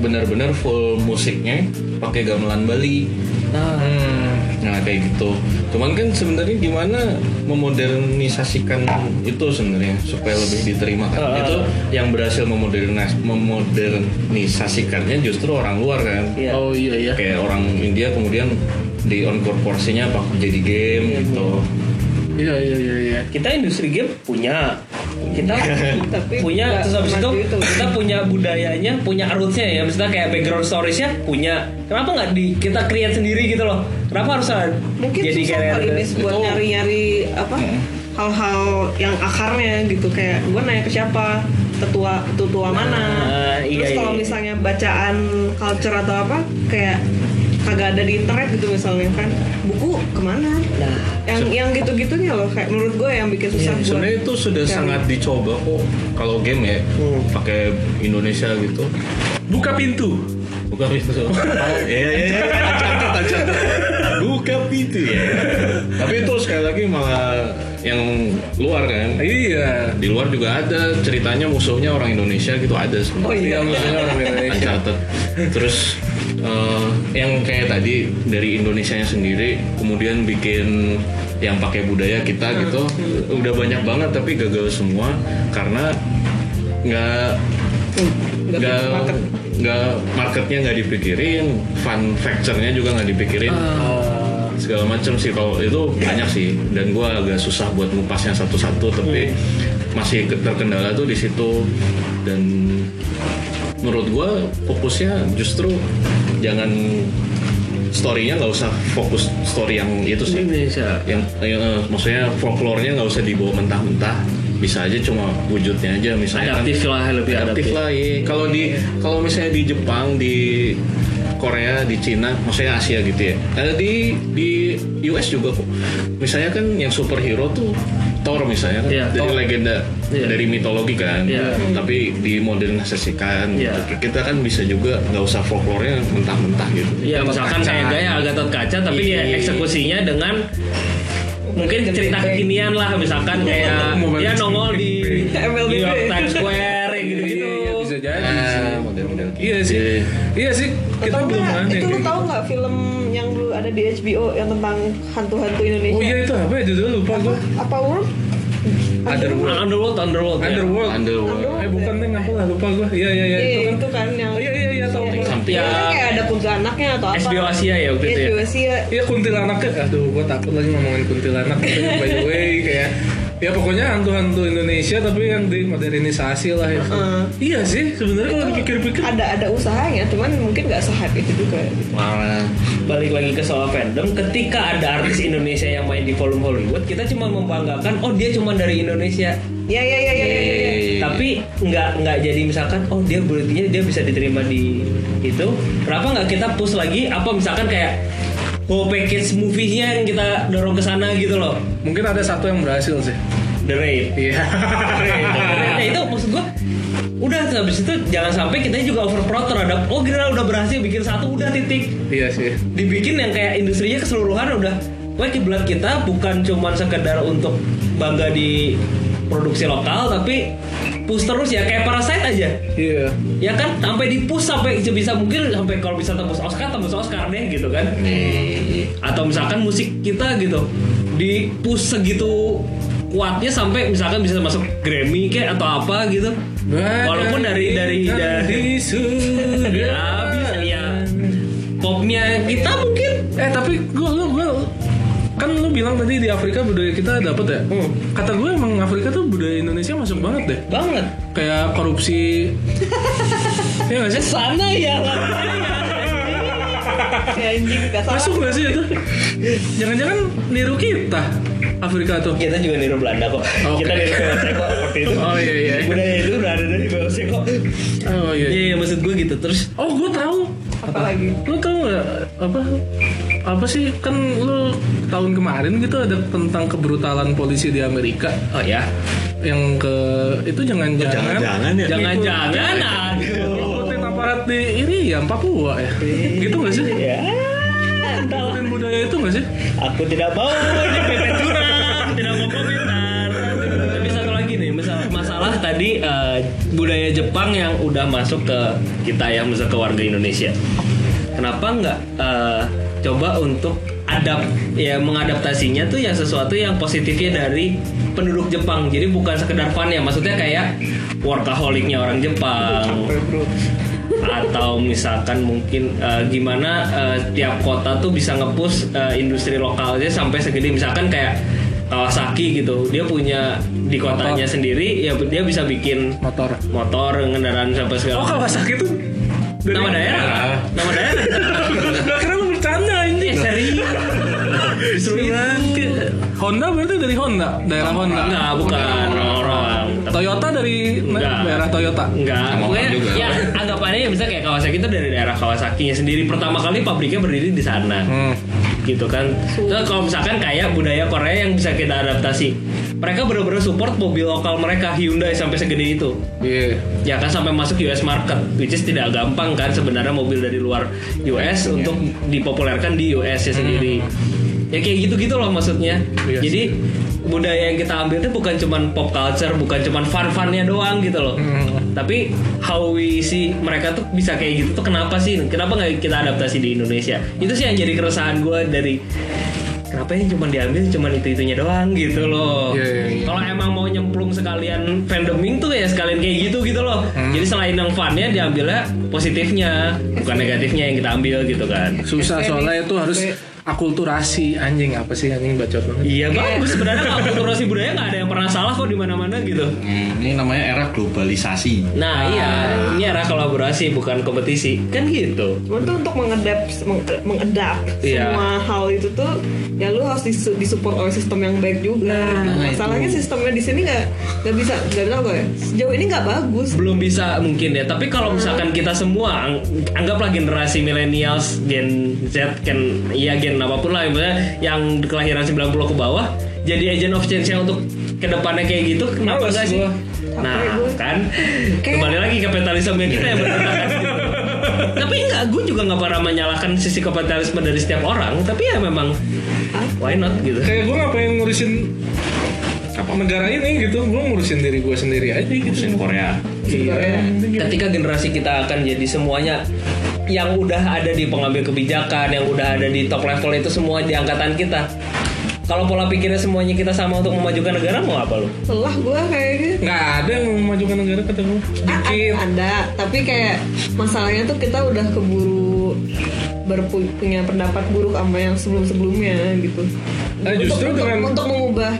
[SPEAKER 4] benar-benar full musiknya pakai gamelan Bali. Nah kayak gitu. Cuman kan sebenarnya gimana memodernisasikan itu sebenarnya supaya lebih diterima kan? Itu yang berhasil memodernis memodernisasikannya justru orang luar kan.
[SPEAKER 5] Iya.
[SPEAKER 3] oh iya iya
[SPEAKER 4] Kayak orang India kemudian di encore porsinya apa jadi game gitu.
[SPEAKER 3] iya iya iya, iya.
[SPEAKER 5] kita industri game punya kita
[SPEAKER 2] Tapi nggak
[SPEAKER 5] punya terus habis itu
[SPEAKER 2] semaju itu. gitu.
[SPEAKER 5] kita punya budayanya punya rootsnya ya maksudnya kayak background storiesnya punya kenapa nggak di kita create sendiri gitu loh kenapa harus ada-
[SPEAKER 2] mungkin
[SPEAKER 5] jadi
[SPEAKER 2] susah
[SPEAKER 5] kayak gitu? Iya.
[SPEAKER 2] kali
[SPEAKER 5] ada-
[SPEAKER 2] Des, buat
[SPEAKER 4] Betul.
[SPEAKER 2] nyari-nyari apa hal-hal yang akarnya gitu kayak gue nanya ke siapa tetua tetua mana
[SPEAKER 5] Nah,
[SPEAKER 2] terus
[SPEAKER 5] iya,
[SPEAKER 2] kalau
[SPEAKER 5] iya.
[SPEAKER 2] misalnya bacaan culture atau apa kayak kagak ada di internet gitu misalnya kan buku kemana
[SPEAKER 5] Nah. Iya,
[SPEAKER 2] yang yang gitu-gitunya loh kayak menurut gue yang bikin susah buat
[SPEAKER 4] Sebenarnya itu sudah
[SPEAKER 2] cari.
[SPEAKER 4] sangat dicoba kok kalau game ya pakai Indonesia gitu.
[SPEAKER 3] buka pintu
[SPEAKER 4] Buka pintu. <laughs> Iya iya iya. Catat catat. Buka pintu ya. Tapi itu sekali lagi malah yang luar kan.
[SPEAKER 3] iya
[SPEAKER 4] Di luar juga ada ceritanya musuhnya orang Indonesia gitu ada
[SPEAKER 2] Oh, iya.
[SPEAKER 4] sebenarnya.
[SPEAKER 3] maksudnya
[SPEAKER 2] <laughs>
[SPEAKER 3] orang Indonesia
[SPEAKER 4] Uncharted. Terus eh, yang kayak tadi dari Indonesia sendiri kemudian bikin yang pakai budaya kita
[SPEAKER 2] Ah,
[SPEAKER 4] gitu
[SPEAKER 2] iya.
[SPEAKER 4] udah banyak banget tapi gagal semua karena nggak nggak nggak marketnya nggak dipikirin, fun factornya juga nggak dipikirin
[SPEAKER 2] Ah,
[SPEAKER 4] segala macam sih kalau itu banyak sih dan gue agak susah buat ngupasnya satu-satu tapi masih ke- terkendala tuh di situ dan menurut gue fokusnya justru jangan story-nya nggak usah fokus story yang itu sih
[SPEAKER 5] Indonesia
[SPEAKER 4] yang eh, eh, maksudnya folklore-nya nggak usah dibawa mentah-mentah bisa aja cuma wujudnya aja misalnya kan-
[SPEAKER 5] adaptif lah lebih
[SPEAKER 4] adaptif
[SPEAKER 5] adaptif
[SPEAKER 4] lah iya. kalau di kalau misalnya di Jepang di Korea di Cina maksudnya Asia gitu ya Eh, di di US juga kok misalnya kan yang superhero tuh Thor misalnya kan
[SPEAKER 5] Iya,
[SPEAKER 4] dari
[SPEAKER 5] Thor.
[SPEAKER 4] legenda
[SPEAKER 5] Iya.
[SPEAKER 4] dari mitologi kan
[SPEAKER 5] Iya.
[SPEAKER 4] tapi dimodernisasikan
[SPEAKER 5] Iya.
[SPEAKER 4] gitu. kita kan bisa juga nggak usah folklore-nya mentah-mentah gitu
[SPEAKER 5] Ya
[SPEAKER 3] Gatot
[SPEAKER 5] misalkan
[SPEAKER 3] kaca.
[SPEAKER 5] kayak gaya Gatot Kaca tapi
[SPEAKER 4] Iya.
[SPEAKER 5] dia eksekusinya dengan mungkin cerita kekinian lah misalkan kayak
[SPEAKER 3] Mobile
[SPEAKER 5] ya nongol di
[SPEAKER 2] MLBB.
[SPEAKER 5] New York Times Square yang gitu-gitu.
[SPEAKER 3] bisa jadi sih.
[SPEAKER 4] Ah, model-model gitu.
[SPEAKER 3] Nah, Iya sih, iya sih. Kita
[SPEAKER 2] Atau
[SPEAKER 3] belum
[SPEAKER 2] enggak,
[SPEAKER 3] ada.
[SPEAKER 2] itu
[SPEAKER 3] yang
[SPEAKER 2] lu
[SPEAKER 3] kayak
[SPEAKER 2] tahu
[SPEAKER 5] gitu.
[SPEAKER 2] nggak film yang dulu ada di HBO yang tentang hantu-hantu
[SPEAKER 3] gitu.
[SPEAKER 2] Indonesia
[SPEAKER 3] Oh iya itu apa ya judulnya lupa gua.
[SPEAKER 5] Iya,
[SPEAKER 2] apa world
[SPEAKER 3] Underworld.
[SPEAKER 5] Underworld, Underworld. ya.
[SPEAKER 3] Underworld.
[SPEAKER 4] Underworld.
[SPEAKER 3] Eh bukan nih apa lah lupa gua. Iya iya iya
[SPEAKER 2] Iya,
[SPEAKER 3] itu kan.
[SPEAKER 2] itu kan yang
[SPEAKER 3] Oh, Iya iya iya tahu. tahu.
[SPEAKER 4] Something.
[SPEAKER 5] Ya,
[SPEAKER 2] Kan kayak ada kuntilanaknya atau apa
[SPEAKER 5] HBO Asia ya waktu itu ya?
[SPEAKER 2] HBO Asia
[SPEAKER 3] Iya kuntilanaknya, aduh gua takut lagi ngomongin kuntilanak Tapi by the way kayak Ya pokoknya hantu-hantu Indonesia tapi yang dimodernisasi lah itu.
[SPEAKER 2] Heeh.
[SPEAKER 3] Iya sih sebenarnya kalau dipikir-pikir
[SPEAKER 2] ada ada usahanya cuman mungkin nggak sehype itu juga
[SPEAKER 4] Parah.
[SPEAKER 5] Balik lagi ke soal fandom, ketika ada artis Indonesia yang main di volume Hollywood, kita cuma membanggakan, oh dia cuma dari Indonesia.
[SPEAKER 2] ya ya ya ya ya, ya, ya.
[SPEAKER 4] Iya.
[SPEAKER 5] Tapi nggak nggak jadi misalkan, oh dia berarti dia bisa diterima di itu. Kenapa nggak kita push lagi? Apa misalkan kayak whole package movie-nya yang kita dorong ke sana gitu loh?
[SPEAKER 3] mungkin ada satu yang berhasil sih.
[SPEAKER 5] The Raid.
[SPEAKER 3] Iya. <laughs>
[SPEAKER 5] Nah itu maksud gua udah habis itu jangan sampai kita juga overproud terhadap oh kira udah berhasil bikin satu udah titik
[SPEAKER 3] iya sih.
[SPEAKER 5] dibikin yang kayak industrinya keseluruhan udah wah kiblat kita bukan cuman sekedar untuk bangga di produksi lokal tapi push terus ya kayak parasite aja
[SPEAKER 3] Iya.
[SPEAKER 5] ya kan sampai di push sampai sebisa mungkin sampai kalau bisa tembus Oscar tembus Oscar deh gitu kan atau misalkan musik kita gitu di push segitu kuatnya sampai misalkan bisa masuk Grammy kayak atau apa gitu walaupun dari dari <laughs> dari iya.
[SPEAKER 3] di
[SPEAKER 5] ya,
[SPEAKER 3] surga.
[SPEAKER 5] bisa ya popnya kita mungkin
[SPEAKER 3] Eh tapi gue lu gue kan lu bilang tadi di Afrika budaya kita dapet ya. Kata gue emang Afrika tuh budaya Indonesia masuk banget deh.
[SPEAKER 5] banget
[SPEAKER 3] Kayak <laughs> korupsi. Iya gak sih?
[SPEAKER 5] sana ya
[SPEAKER 2] ya anjing nggak salah
[SPEAKER 3] Masuk gak sih itu? Jangan-jangan niru kita Afrika tuh.
[SPEAKER 5] kita juga niru Belanda kok
[SPEAKER 3] Oke.
[SPEAKER 5] kita niru VOC kok seperti itu
[SPEAKER 3] Oh iya iya.
[SPEAKER 5] budaya itu udah ada dari VOC kok
[SPEAKER 3] Oh iya.
[SPEAKER 5] iya
[SPEAKER 3] iya.
[SPEAKER 5] iya, maksud gue gitu terus
[SPEAKER 3] Oh gue tahu.
[SPEAKER 2] apa lagi
[SPEAKER 3] Lu tahu nggak apa apa sih kan lu tahun kemarin gitu ada tentang kebrutalan polisi di Amerika
[SPEAKER 5] oh ya
[SPEAKER 3] yang ke itu jangan-jangan
[SPEAKER 4] jangan-jangan ya?
[SPEAKER 5] jangan-jangan aduh
[SPEAKER 3] ngikutin aparat di ini ya Papua ya gitu nggak sih
[SPEAKER 5] ya
[SPEAKER 3] ngikutin budaya itu nggak sih
[SPEAKER 5] aku tidak mau dipepet curang tidak mau komentar tapi satu lagi nih masalah, masalah tadi eh, budaya Jepang yang udah masuk ke kita yang masuk ke warga Indonesia kenapa nggak eh, coba untuk adap ya mengadaptasinya tuh yang sesuatu yang positifnya dari penduduk Jepang jadi bukan sekedar fun ya maksudnya kayak workaholicnya orang Jepang atau misalkan mungkin eh, gimana eh, tiap kota tuh bisa ngepush eh, industri lokalnya sampai segede misalkan kayak Kawasaki gitu dia punya di kotanya
[SPEAKER 3] Motor.
[SPEAKER 5] sendiri ya dia bisa bikin
[SPEAKER 3] motor
[SPEAKER 5] motor kendaraan sampai
[SPEAKER 3] oh
[SPEAKER 5] segala
[SPEAKER 3] Kawasaki tuh dari
[SPEAKER 5] nama daerah nama daerah
[SPEAKER 3] Gak kira lu bercanda
[SPEAKER 5] Eh,
[SPEAKER 3] anjing
[SPEAKER 5] serius Justru itu.
[SPEAKER 3] Honda berarti dari Honda daerah Honda
[SPEAKER 5] enggak bukan orang-orang Tapi-
[SPEAKER 3] Toyota dari na-
[SPEAKER 5] Enggak.
[SPEAKER 3] daerah Toyota
[SPEAKER 5] enggak
[SPEAKER 4] Sama
[SPEAKER 5] pokoknya
[SPEAKER 4] orang juga.
[SPEAKER 5] ya anggapannya ya bisa kayak Kawasaki itu dari daerah Kawasakinya sendiri pertama kali pabriknya berdiri di sana
[SPEAKER 3] hmm.
[SPEAKER 5] gitu kan. Terus kalau misalkan kayak budaya Korea yang bisa kita adaptasi, mereka benar-benar support mobil lokal mereka Hyundai sampai segede itu.
[SPEAKER 3] iya
[SPEAKER 5] Ya kan sampai masuk US market, which is tidak gampang kan sebenarnya mobil dari luar
[SPEAKER 3] Iya.
[SPEAKER 5] US untuk dipopulerkan di US ya sendiri. Ya kayak gitu-gitu loh maksudnya.
[SPEAKER 3] Hmm. Iya
[SPEAKER 5] Jadi budaya yang kita ambil itu bukan cuman pop culture, bukan cuman fun-funnya doang gitu loh.
[SPEAKER 3] Hmm.
[SPEAKER 5] Tapi how we see mereka tuh bisa kayak gitu tuh kenapa sih? Kenapa nggak kita adaptasi di Indonesia? Itu sih yang jadi keresahan gue dari kenapa yang cuma diambil cuma itu itunya doang gitu loh.
[SPEAKER 3] Iya, iya, iya.
[SPEAKER 5] Kalau emang mau nyemplung sekalian fandoming tuh ya sekalian kayak gitu gitu loh. Jadi selain yang funnya diambilnya positifnya bukan negatifnya yang kita ambil gitu kan.
[SPEAKER 3] susah soalnya itu harus akulturasi anjing apa sih anjing bacot banget
[SPEAKER 5] Iya bagus sebenarnya akulturasi budaya nggak ada yang pernah salah kok di mana-mana gitu.
[SPEAKER 4] Hmm, ini namanya era globalisasi.
[SPEAKER 5] Nah iya ini era kolaborasi bukan kompetisi kan gitu.
[SPEAKER 2] Cuman tuh untuk mengedap meng- mengedap
[SPEAKER 5] Iya.
[SPEAKER 2] semua hal itu tuh ya lu harus disu- disupport oleh sistem yang baik juga. Masalahnya sistemnya di sini nggak nggak bisa nggak tahu gue. Sejauh ini nggak bagus.
[SPEAKER 5] Belum bisa mungkin ya. Tapi kalau misalkan kita semua ang- anggaplah generasi millennials, Gen Z, Gen ya Gen apapun lah misalnya yang kelahiran 90 ke bawah jadi agent of change yang untuk kedepannya kayak gitu kenapa
[SPEAKER 3] Males
[SPEAKER 5] gak sih?
[SPEAKER 3] gua.
[SPEAKER 5] Nah
[SPEAKER 2] Capek gua.
[SPEAKER 5] kan
[SPEAKER 2] Kayak-
[SPEAKER 5] kembali lagi kapitalisme kita yang bertentangan gitu. Tapi enggak, gue juga nggak pernah menyalahkan sisi kapitalisme dari setiap orang. Tapi ya memang why not gitu.
[SPEAKER 3] kayak gue ngapain ngurusin apa negara ini gitu gue ngurusin diri gue sendiri aja gitu Iya.
[SPEAKER 4] Mesin Korea.
[SPEAKER 5] Iya.
[SPEAKER 3] Sebenarnya.
[SPEAKER 5] ketika generasi kita akan jadi semuanya yang udah ada di pengambil kebijakan, yang udah ada di top level itu semua di angkatan kita. Kalau pola pikirnya semuanya kita sama untuk memajukan negara mau apa lu?
[SPEAKER 2] Telah gue kayaknya.
[SPEAKER 3] nggak ada yang mau memajukan negara kata gue
[SPEAKER 2] Ah,
[SPEAKER 3] sedikit
[SPEAKER 2] ah, Ada, tapi kayak masalahnya tuh kita udah keburu berpunya pendapat buruk sama yang sebelum-sebelumnya gitu.
[SPEAKER 3] Nah, justru
[SPEAKER 2] untuk,
[SPEAKER 3] dengan-
[SPEAKER 2] untuk, untuk mengubah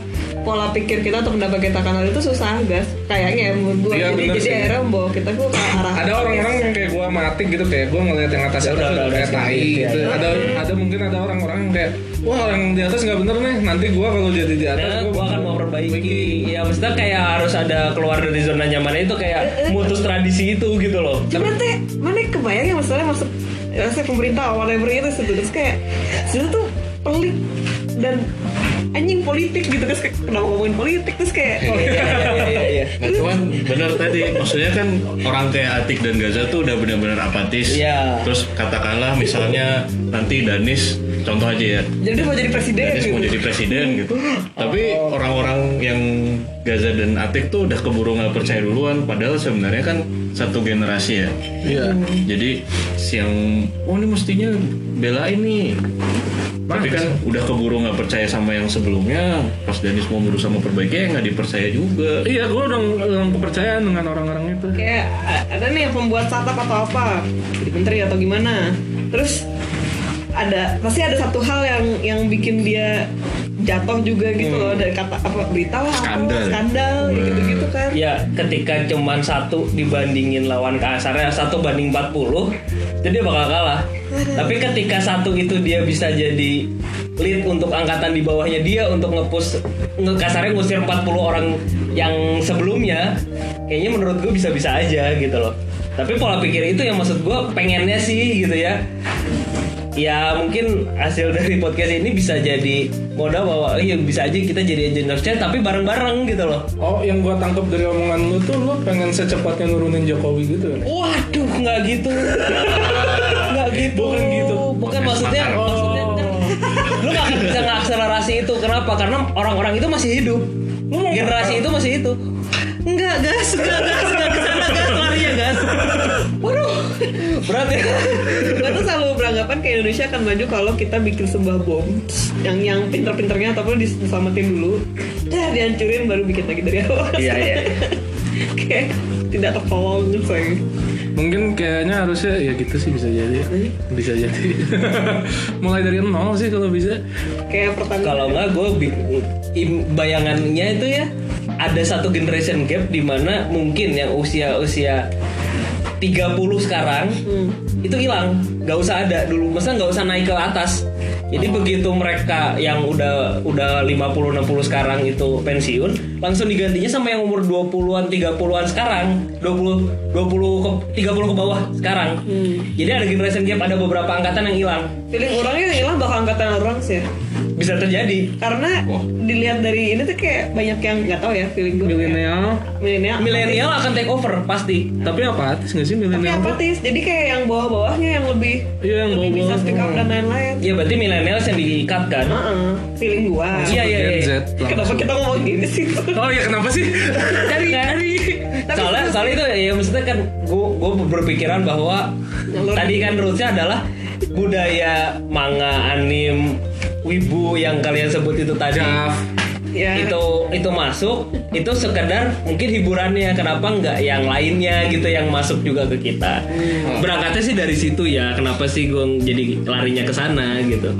[SPEAKER 2] pola pikir kita atau pendapat kita karena itu susah guys kayaknya ya, menurut gue
[SPEAKER 3] Iya,
[SPEAKER 2] jadi,
[SPEAKER 3] bener
[SPEAKER 2] jadi
[SPEAKER 3] sih.
[SPEAKER 2] akhirnya membawa kita gue ke arah
[SPEAKER 3] ada orang-orang yang kayak gue mati gitu kayak gue ngeliat yang atas
[SPEAKER 5] Ya
[SPEAKER 3] atas udah
[SPEAKER 5] udah, udah,
[SPEAKER 3] kayak
[SPEAKER 5] udah,
[SPEAKER 3] tai
[SPEAKER 5] sendiri,
[SPEAKER 3] gitu.
[SPEAKER 5] ya.
[SPEAKER 3] ada ada mungkin ada orang-orang yang kayak wah orang di atas nggak bener nih nanti gue kalau jadi di atas
[SPEAKER 5] Nah,
[SPEAKER 3] gue
[SPEAKER 5] gua akan mau perbaiki. Ya maksudnya kayak harus ada keluar dari zona nyaman itu kayak mutus tradisi itu gitu loh.
[SPEAKER 2] <laughs> Cuma teh mana kebayang ya masalahnya masuk rasa pemerintah awalnya itu itu terus kayak sebenarnya tuh pelik dan anjing politik gitu terus kayak kenapa ngomongin politik terus kayak
[SPEAKER 3] Iya,
[SPEAKER 5] Iya,
[SPEAKER 4] Nah, cuman bener tadi maksudnya kan orang kayak Atik dan Gaza tuh udah benar-benar apatis.
[SPEAKER 5] Iya.
[SPEAKER 4] Terus katakanlah misalnya nanti Danis contoh aja ya.
[SPEAKER 2] jadi dia mau jadi presiden
[SPEAKER 4] Danis
[SPEAKER 2] gitu
[SPEAKER 4] mau jadi presiden gitu. Tapi orang-orang yang Gaza dan Atik tuh udah keburu nggak percaya duluan padahal sebenarnya kan satu generasi ya.
[SPEAKER 3] iya
[SPEAKER 4] Jadi siang oh ini mestinya bela ini. Tapi kan udah keburu nggak percaya sama yang sebelumnya. Pas Danis mau berusaha memperbaiki ya nggak dipercaya juga.
[SPEAKER 3] iya gue udah hilang kepercayaan dengan orang-orang itu
[SPEAKER 2] kayak a- ada nih yang pembuat startup atau apa jadi menteri atau gimana terus ada pasti ada satu hal yang yang bikin dia jatuh juga gitu loh
[SPEAKER 5] Hmm.
[SPEAKER 2] dari kata apa berita lah apa,
[SPEAKER 4] Skandal.
[SPEAKER 2] skandal gitu gitu kan
[SPEAKER 5] Ya ketika cuman satu dibandingin lawan kasarnya satu banding 40 jadi dia bakal kalah. Tapi ketika satu itu dia bisa jadi lead untuk angkatan di bawahnya dia untuk ngepush ngekasarnya ngusir 40 orang yang sebelumnya kayaknya menurut gue bisa-bisa aja gitu loh. Tapi pola pikir itu yang maksud gue pengennya sih gitu ya. Ya mungkin hasil dari podcast ini bisa jadi modal bahwa iya bisa aja kita jadi agent of change tapi bareng-bareng gitu loh.
[SPEAKER 3] oh yang gue tangkap dari omongan lu tuh lu pengen secepatnya nurunin Jokowi gitu kan
[SPEAKER 5] Waduh, nggak gitu. Nggak gitu.
[SPEAKER 3] Bukan gitu. Oh.
[SPEAKER 5] Bukan maksudnya, maksudnya kan, lu nggak akan bisa ngakselerasi itu. Kenapa? Karena orang-orang itu masih hidup.
[SPEAKER 3] Iya.
[SPEAKER 5] Generasi itu masih hidup. Enggak, gas, enggak, gas, enggak ke sana, gas, larinya, gas. Waduh,
[SPEAKER 2] <laughs>
[SPEAKER 5] berat ya.
[SPEAKER 2] Gue tuh selalu beranggapan kayak Indonesia akan maju kalau kita bikin sebuah bom yang yang pinter-pinternya ataupun dis- diselamatin dulu, dah dihancurin baru bikin lagi dari awal.
[SPEAKER 5] Iya, iya.
[SPEAKER 2] <laughs> kayak tidak tertolong saya.
[SPEAKER 3] mungkin kayaknya harusnya ya gitu sih bisa jadi bisa jadi <laughs> mulai dari nol sih kalau bisa
[SPEAKER 2] Kayak pertama
[SPEAKER 5] Kalau nggak, gue bi- im- bayangannya itu ya ada satu generation gap di mana mungkin yang usia-usia 30 sekarang itu hilang, nggak usah ada dulu, masa nggak usah naik ke atas. Jadi begitu mereka yang udah udah 50 60 sekarang itu pensiun, langsung digantinya sama yang umur 20-an 30-an sekarang, 20 20 ke 30 ke bawah sekarang. Jadi ada generation gap, ada beberapa angkatan yang hilang.
[SPEAKER 2] feeling orangnya yang hilang bakal angkatan orang sih. ya.
[SPEAKER 5] Bisa terjadi.
[SPEAKER 2] Karena dilihat dari ini tuh kayak banyak yang nggak tahu ya feeling gue.
[SPEAKER 3] milenial
[SPEAKER 2] Milenial.
[SPEAKER 5] milenial akan take over pasti.
[SPEAKER 3] tapi apa atis nggak sih
[SPEAKER 2] Tapi
[SPEAKER 3] milenial tuh?
[SPEAKER 2] apatis, jadi kayak yang bawah-bawahnya yang lebih
[SPEAKER 3] iya yang
[SPEAKER 2] lebih bisa
[SPEAKER 3] bawa
[SPEAKER 2] speak up dan lain-lain.
[SPEAKER 5] Ya berarti milenial yang diikat kan?
[SPEAKER 2] Heeh, feeling gua.
[SPEAKER 5] Iya iya
[SPEAKER 3] Gen Z
[SPEAKER 5] iya.
[SPEAKER 3] lah.
[SPEAKER 2] Kenapa kita ngomong gini
[SPEAKER 3] <laughs>
[SPEAKER 2] sih?
[SPEAKER 3] oh ya kenapa sih
[SPEAKER 5] Dari dari. Soalnya soalnya itu ya maksudnya kan gua gua berpikiran bahwa tadi kan rootsnya adalah budaya manga anim wibu yang kalian sebut itu tadi.
[SPEAKER 3] Jaf
[SPEAKER 2] Ya.
[SPEAKER 5] itu itu masuk itu sekedar mungkin hiburannya kenapa nggak yang lainnya gitu yang masuk juga ke kita berangkatnya sih dari situ ya kenapa sih gue jadi larinya ke sana gitu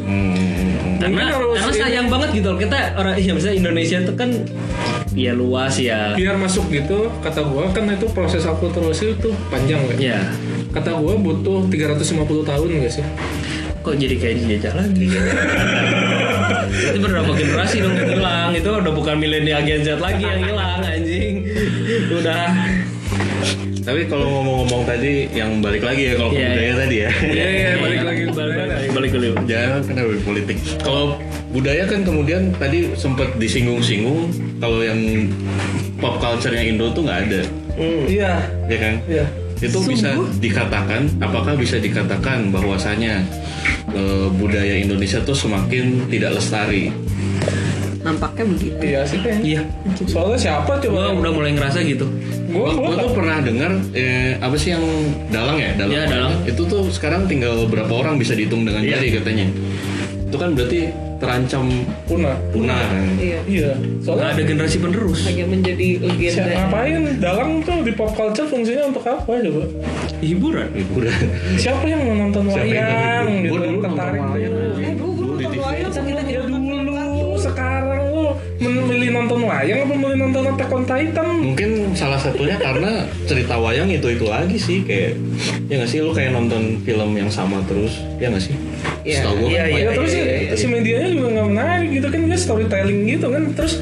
[SPEAKER 5] Hmm. karena
[SPEAKER 3] Mungkin harus
[SPEAKER 5] karena
[SPEAKER 3] ini-
[SPEAKER 5] sayang banget gitu loh kita orang ya misalnya Indonesia tuh kan ya luas ya
[SPEAKER 3] biar masuk gitu kata gua kan itu proses akulturasi itu panjang kan
[SPEAKER 5] ya
[SPEAKER 3] kata gua butuh 350 tahun gak sih
[SPEAKER 5] kok jadi kayak dijajah lagi itu berapa generasi dong yang hilang itu udah bukan milenial Gen Z lagi yang hilang anjing udah
[SPEAKER 4] Tapi kalau ngomong-ngomong tadi yang balik lagi ya kalau ke
[SPEAKER 5] Iya,
[SPEAKER 4] budaya tadi ya.
[SPEAKER 3] Iya, iya, balik lagi.
[SPEAKER 5] balik lagi balik dulu
[SPEAKER 4] Jangan kan dari politik. Kalau budaya kan kemudian tadi sempat disinggung-singgung kalau yang pop culture-nya Indo tuh nggak ada,
[SPEAKER 3] iya
[SPEAKER 4] ya kan?
[SPEAKER 3] iya
[SPEAKER 4] Itu bisa dikatakan, apakah bisa dikatakan bahwasanya eh, budaya Indonesia tuh semakin tidak lestari?
[SPEAKER 2] Nampaknya begitu.
[SPEAKER 3] iya sih kan
[SPEAKER 5] iya
[SPEAKER 3] soalnya siapa
[SPEAKER 5] gua
[SPEAKER 3] coba
[SPEAKER 5] udah mulai ngerasa gitu
[SPEAKER 3] gua
[SPEAKER 4] Gua,
[SPEAKER 3] gua
[SPEAKER 4] gua tuh pernah dengar eh, apa sih yang dalang ya? Dalang.
[SPEAKER 5] Iya, dalang.
[SPEAKER 4] Itu tuh sekarang tinggal berapa orang bisa dihitung dengan jari katanya. Itu kan berarti terancam
[SPEAKER 3] punah
[SPEAKER 4] punah. kan?
[SPEAKER 2] Iya.
[SPEAKER 3] iya
[SPEAKER 5] nggak
[SPEAKER 3] soalnya
[SPEAKER 5] ada generasi penerus
[SPEAKER 2] Hanya menjadi legenda. ya.
[SPEAKER 3] siapa ngapain dalang tuh di pop culture fungsinya untuk apa coba
[SPEAKER 5] hiburan
[SPEAKER 4] Hiburan.
[SPEAKER 3] siapa yang mau nonton
[SPEAKER 4] Siapa yang
[SPEAKER 3] wayang
[SPEAKER 4] nonton?
[SPEAKER 3] gitu
[SPEAKER 4] Gua dulu nonton
[SPEAKER 3] tertarik
[SPEAKER 4] wayang.
[SPEAKER 2] Eh, dulu gue nonton wayang sambil
[SPEAKER 3] Ya
[SPEAKER 2] jadi
[SPEAKER 3] dulu sekarang lu memilih nonton wayang apa memilih nonton Attack on Titan
[SPEAKER 4] Mungkin salah satunya karena cerita wayang itu itu lagi sih kayak ya nggak sih lu kayak nonton film yang sama terus ya nggak sih?
[SPEAKER 5] Iya,
[SPEAKER 4] Setahu gua kan
[SPEAKER 5] iya, iya.
[SPEAKER 3] ya terus si- si medianya juga nggak menarik gitu kan dia storytelling gitu kan terus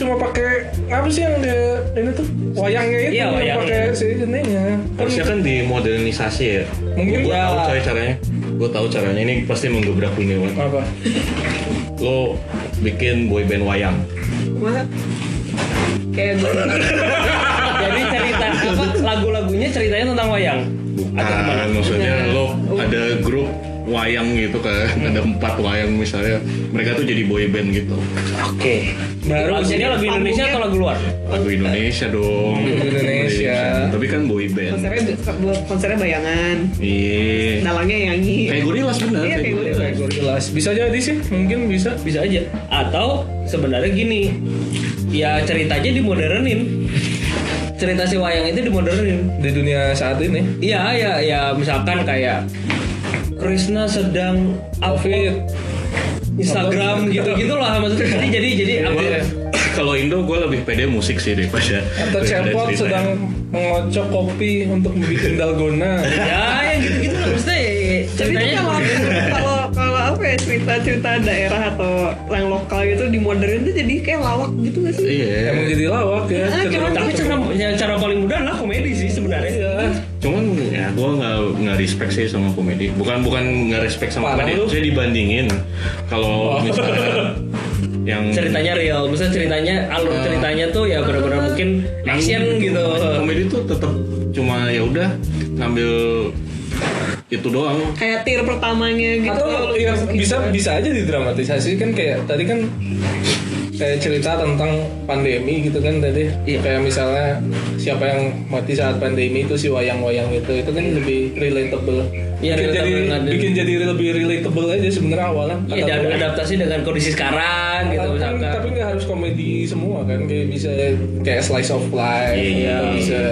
[SPEAKER 3] cuma pakai apa sih yang dia ini tuh wayangnya itu
[SPEAKER 5] Iya,
[SPEAKER 3] yang
[SPEAKER 5] wayangnya.
[SPEAKER 3] pakai si ininya kan
[SPEAKER 4] Harusnya kan dimodernisasi ya.
[SPEAKER 3] Mungkin
[SPEAKER 4] gue
[SPEAKER 3] ya.
[SPEAKER 4] tahu coy caranya. Gue tahu caranya. Ini pasti menggebrak dunia banget.
[SPEAKER 3] apa
[SPEAKER 4] Lo bikin boyband wayang.
[SPEAKER 2] Wah. Kayak
[SPEAKER 3] <laughs>
[SPEAKER 2] gue
[SPEAKER 5] jadi cerita apa lagu-lagunya ceritanya tentang wayang Atau gimana?
[SPEAKER 4] Bukan, maksudnya lo ada grup wayang gitu kan, ada empat wayang misalnya, mereka tuh jadi boyband gitu,
[SPEAKER 5] oke
[SPEAKER 3] Baru
[SPEAKER 5] lagunya lagu Indonesia atau lagu luar
[SPEAKER 4] lagu Indonesia dong,
[SPEAKER 3] Indonesia.
[SPEAKER 4] tapi kan boyband,
[SPEAKER 2] konsernya konsernya bayangan.
[SPEAKER 4] iya,
[SPEAKER 2] Dalangnya yang nyanyi.
[SPEAKER 4] kayak gorilas bener,
[SPEAKER 2] Nah, Iya, kayak gorilas.
[SPEAKER 3] Kayak Gorillaz. Kan- bisa jadi sih mungkin bisa
[SPEAKER 5] bisa aja atau sebenarnya gini ya ceritanya dimodernin cerita si wayang itu dimodernin
[SPEAKER 3] di dunia saat ini
[SPEAKER 5] Iya, ya, ya, misalkan kayak Krishna sedang
[SPEAKER 3] covid
[SPEAKER 5] upload Instagram gitu-gitu lah maksudnya. Jadi jadi jadi apa?
[SPEAKER 4] <coughs> Kalau Indo gue lebih pede musik sih daripada
[SPEAKER 3] atau
[SPEAKER 4] daripada
[SPEAKER 3] cepot
[SPEAKER 4] ceritanya.
[SPEAKER 3] sedang mengocok kopi untuk membuat dalgona
[SPEAKER 5] Ya, yang gitu-gitu lah maksudnya. ya, ya,
[SPEAKER 2] Tapi itu kan
[SPEAKER 5] Ceritanya
[SPEAKER 2] kalau kalau kalau apa ya cerita-cerita daerah atau yang lokal gitu di modern itu jadi kayak lawak gitu gak sih?
[SPEAKER 4] Iya.
[SPEAKER 3] emang jadi lawak ya
[SPEAKER 2] Ah,
[SPEAKER 3] cenderung.
[SPEAKER 5] tapi cara ya, cara paling mudah adalah komedi sih sebenarnya.
[SPEAKER 3] Iya.
[SPEAKER 4] Cuman ya gue nggak nggak respect sih sama komedi. Bukan bukan nggak respect sama
[SPEAKER 3] Parah
[SPEAKER 4] komedi.
[SPEAKER 3] lu.
[SPEAKER 4] Saya dibandingin kalau misalnya yang
[SPEAKER 5] Ceritanya real, maksudnya ceritanya alur ceritanya tuh ya benar-benar mungkin
[SPEAKER 4] Iya.
[SPEAKER 5] action gitu.
[SPEAKER 4] komedi tuh tetap cuma ya udah ngambil itu doang.
[SPEAKER 5] Eh.
[SPEAKER 2] Kayak tir pertamanya gitu.
[SPEAKER 3] atau
[SPEAKER 2] kalau
[SPEAKER 3] ya,
[SPEAKER 2] masukin.
[SPEAKER 3] bisa bisa aja didramatisasi kan kayak tadi kan kayak cerita tentang pandemi gitu kan tadi
[SPEAKER 5] Iya.
[SPEAKER 3] kayak misalnya siapa yang mati saat pandemi itu si wayang-wayang itu itu kan lebih relatable bikin
[SPEAKER 5] Iya,
[SPEAKER 3] jadi
[SPEAKER 5] relatable dengan-
[SPEAKER 3] bikin jadi lebih relatable aja sebenarnya awalnya
[SPEAKER 5] Iya,
[SPEAKER 3] Kata
[SPEAKER 5] dan
[SPEAKER 3] gue.
[SPEAKER 5] adaptasi dengan kondisi sekarang gitu
[SPEAKER 3] Kan-
[SPEAKER 5] misalkan.
[SPEAKER 3] tapi nggak harus komedi semua kan kayak bisa kayak slice of life
[SPEAKER 5] Iya.
[SPEAKER 3] atau bisa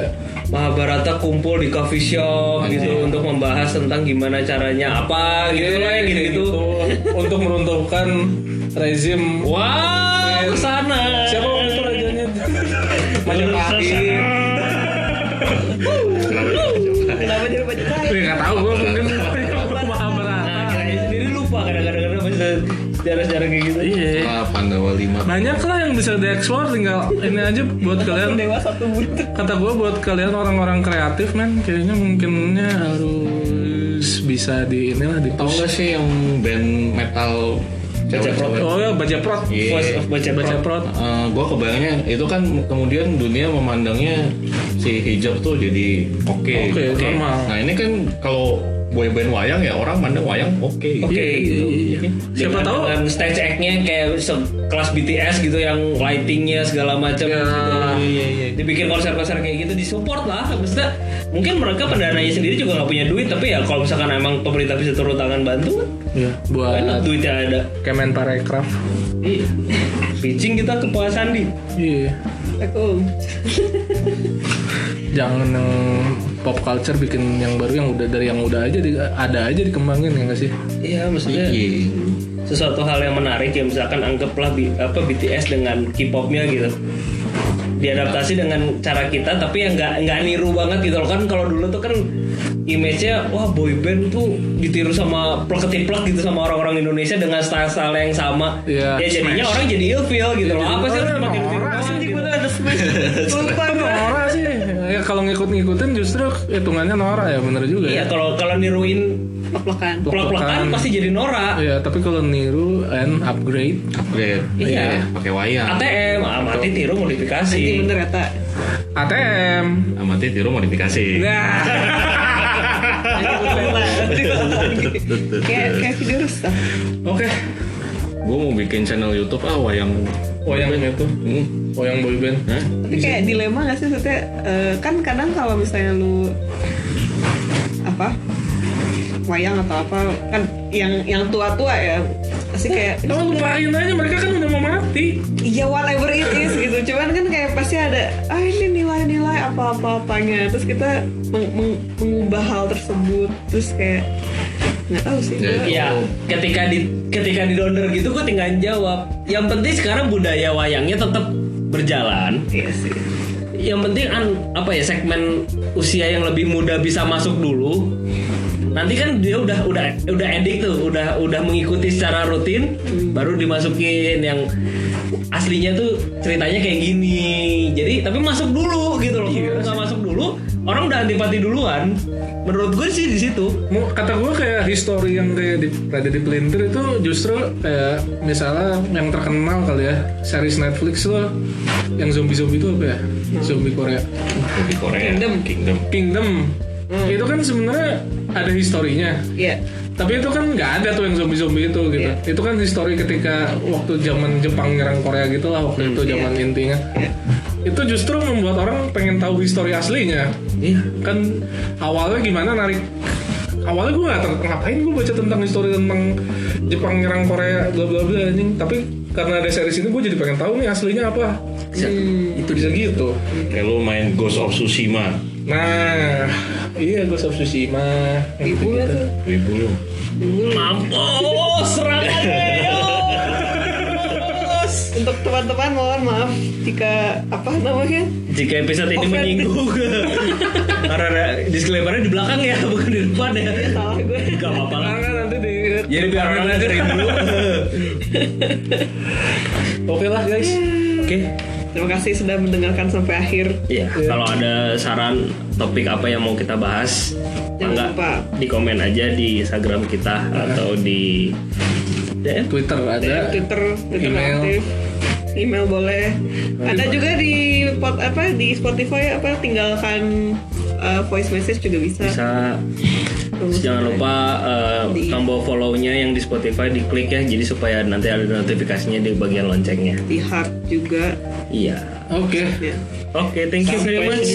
[SPEAKER 5] Mahabharata kumpul di coffee shop gitu untuk membahas tentang gimana caranya apa gitu lah
[SPEAKER 3] Kayak
[SPEAKER 5] gitu gitu.
[SPEAKER 3] Iya, untuk meruntuhkan rezim
[SPEAKER 5] Wow, kesana.
[SPEAKER 3] siapa waktu itu rajanya Majapahit
[SPEAKER 2] kenapa jadi baju kain?
[SPEAKER 3] Gue nggak tahu gue mungkin
[SPEAKER 5] Nah, kita sendiri lupa kadang-kadang bisa sejarah-sejarah kayak gitu.
[SPEAKER 3] Iya.
[SPEAKER 4] Ah, Pandawa 5
[SPEAKER 3] Banyak lah yang bisa dieksplor tinggal ini aja buat kalian
[SPEAKER 2] Dewa satu buntut.
[SPEAKER 3] kata gue buat kalian orang-orang kreatif men kayaknya mungkinnya harus bisa di inilah di
[SPEAKER 4] Tahu nggak sih yang band metal cewek-cewek?
[SPEAKER 3] Oh ya baca prot.
[SPEAKER 4] Iya.
[SPEAKER 5] Voice of baca
[SPEAKER 3] Baca
[SPEAKER 5] baca.
[SPEAKER 3] prot.
[SPEAKER 4] gue Eh, kebayangnya itu kan kemudian dunia memandangnya si hijab tuh jadi oke
[SPEAKER 3] Oke, normal.
[SPEAKER 4] nah ini kan kalau boyband wayang ya orang mandang wayang oke
[SPEAKER 5] Oke
[SPEAKER 4] gitu.
[SPEAKER 5] gitu.
[SPEAKER 3] Iya, Siapa
[SPEAKER 5] Dengan-
[SPEAKER 3] tahu?
[SPEAKER 5] dengan stage act-nya kayak se- kelas BTS gitu yang lightingnya segala macam
[SPEAKER 3] Ya.
[SPEAKER 5] gitu.
[SPEAKER 3] Iya, iya.
[SPEAKER 5] Dibikin konser-konser kayak gitu disupport lah. Maksudnya mungkin mereka pendananya sendiri juga nggak punya duit tapi ya kalau misalkan emang pemerintah bisa turun tangan bantu
[SPEAKER 3] Iya,
[SPEAKER 5] banyak
[SPEAKER 3] buat Iya.
[SPEAKER 5] duitnya ada.
[SPEAKER 3] Kemenparekraf.
[SPEAKER 5] Ih, <laughs> Pitching kita ke Pak Sandi.
[SPEAKER 3] Iya.
[SPEAKER 2] Aku
[SPEAKER 3] Jangan yang pop culture bikin yang baru yang udah dari yang udah aja di- ada aja dikembangin ya nggak sih?
[SPEAKER 5] Iya maksudnya sesuatu hal yang menarik ya misalkan anggaplah bi- apa BTS dengan K-popnya gitu diadaptasi dengan cara kita tapi yang nggak nggak niru banget gitu loh kan kalau dulu tuh kan image-nya wah boy band tuh ditiru sama plek-plek gitu sama orang-orang Indonesia dengan style-style yang sama
[SPEAKER 3] Iya,
[SPEAKER 5] ya jadinya orang jadi ilfeel gitu loh apa sih harus
[SPEAKER 3] orang
[SPEAKER 5] pakai ditiru
[SPEAKER 3] orang
[SPEAKER 5] doang
[SPEAKER 3] sih,
[SPEAKER 5] gitu.
[SPEAKER 2] Gua ada smash. Lupa gua.
[SPEAKER 3] Norak Kan sih. Ya kalau ngikut-ngikutin justru hitungannya norak ya bener juga ya.
[SPEAKER 5] iya kalau kalau niruin
[SPEAKER 2] Plek-plekan.
[SPEAKER 5] plek-plekan
[SPEAKER 3] Plek-plekan.
[SPEAKER 5] pasti jadi norak
[SPEAKER 3] Iya, tapi kalau niru and upgrade
[SPEAKER 4] Upgrade.
[SPEAKER 5] Iya.
[SPEAKER 4] Iya, pakai wayang
[SPEAKER 5] ATM ah, mati tiru modifikasi
[SPEAKER 2] Ini bener ya, kata.
[SPEAKER 3] ATM
[SPEAKER 4] amati tiru modifikasi
[SPEAKER 2] Nah. Kayak kayak video rusak.
[SPEAKER 3] Oke,
[SPEAKER 4] gue mau bikin channel YouTube ah wayang
[SPEAKER 3] wayang itu,
[SPEAKER 4] hmm. eh?
[SPEAKER 3] wayang boyband.
[SPEAKER 4] Hah?
[SPEAKER 2] Tapi kayak dilema gak sih maksudnya eh, kan kadang kalau misalnya lu apa wayang atau apa kan yang yang tua-tua ya pasti kayak
[SPEAKER 3] Lo lupain aja mereka kan udah mau mati.
[SPEAKER 2] ya whatever it is gitu cuman kan kayak pasti ada ah ini nilai-nilai apa-apa-apanya terus kita meng- meng- mengubah hal tersebut terus kayak nggak tahu sih
[SPEAKER 4] Ya,
[SPEAKER 2] gua-
[SPEAKER 4] itu.
[SPEAKER 5] Ya, ketika di ketika di donder gitu gue tinggal jawab. Yang penting sekarang budaya wayangnya tetap berjalan.
[SPEAKER 2] iya sih
[SPEAKER 5] Yang penting an- apa ya segmen usia yang lebih muda bisa masuk dulu. Nanti kan dia udah udah udah edik tuh, udah udah mengikuti secara rutin, baru dimasukin yang aslinya tuh ceritanya kayak gini. Jadi tapi masuk dulu gitu loh. Kalau nggak masuk dulu, orang udah antipati duluan. Menurut gue sih di situ.
[SPEAKER 3] Mu- Kata gue kayak history yang kayak di, ada di pelintir itu justru kayak misalnya yang terkenal kali ya series Netflix loh yang zombie zombie itu apa ya zombie Korea
[SPEAKER 4] di Korea
[SPEAKER 2] Kingdom.
[SPEAKER 4] Kingdom
[SPEAKER 3] Kingdom itu kan sebenarnya ada historinya
[SPEAKER 2] iya
[SPEAKER 3] tapi itu kan nggak ada tuh yang zombie zombie itu gitu itu kan histori ketika waktu zaman Jepang nyerang Korea gitu lah waktu itu zaman intinya
[SPEAKER 2] Ya.
[SPEAKER 3] itu justru membuat orang pengen tahu histori aslinya kan awalnya gimana narik awalnya gue nggak tahu ngapain gue baca tentang histori tentang Jepang nyerang Korea bla bla bla anjing tapi karena ada series ini gue jadi pengen tahu nih aslinya apa
[SPEAKER 2] Hmm,
[SPEAKER 3] itu bisa gitu
[SPEAKER 4] kayak lu main Ghost of Tsushima
[SPEAKER 3] nah iya gue of Tsushima yang gitu, -gitu.
[SPEAKER 4] ibu lu
[SPEAKER 5] Mampus serangannya yo.
[SPEAKER 2] untuk teman-teman mohon maaf jika apa namanya
[SPEAKER 5] Jika episode ini
[SPEAKER 2] Offended. <laughs>
[SPEAKER 5] menyinggung Karena ada disclaimer-nya di belakang ya Bukan di depan ya
[SPEAKER 2] Iya, salah gue
[SPEAKER 5] Gak apa-apa lah
[SPEAKER 3] Karena Nah, nanti di
[SPEAKER 5] Jadi biar orang dengerin dulu
[SPEAKER 3] oke lah guys
[SPEAKER 5] Oke
[SPEAKER 2] Terima kasih sudah mendengarkan sampai akhir.
[SPEAKER 5] Iya Kalau ada saran topik apa yang mau kita bahas
[SPEAKER 2] Jangan
[SPEAKER 5] Enggak
[SPEAKER 2] lupa.
[SPEAKER 5] Di komen aja di Instagram kita Atau di DM
[SPEAKER 3] Twitter ada
[SPEAKER 2] Twitter, Twitter
[SPEAKER 3] Email.
[SPEAKER 2] aktif. Email boleh. Ada juga di pot, apa di Spotify apa tinggalkan uh, voice message juga bisa.
[SPEAKER 5] bisa Terus jangan lupa eh,
[SPEAKER 2] Di-
[SPEAKER 5] tombol follow-nya yang di Spotify diklik ya jadi supaya nanti ada notifikasinya di bagian loncengnya.
[SPEAKER 2] Di heart juga.
[SPEAKER 5] Iya.
[SPEAKER 3] oke
[SPEAKER 2] Ya.
[SPEAKER 5] Oke, thank you very much.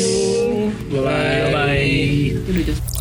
[SPEAKER 3] bye
[SPEAKER 5] Bye bye.
[SPEAKER 2] Udah, just-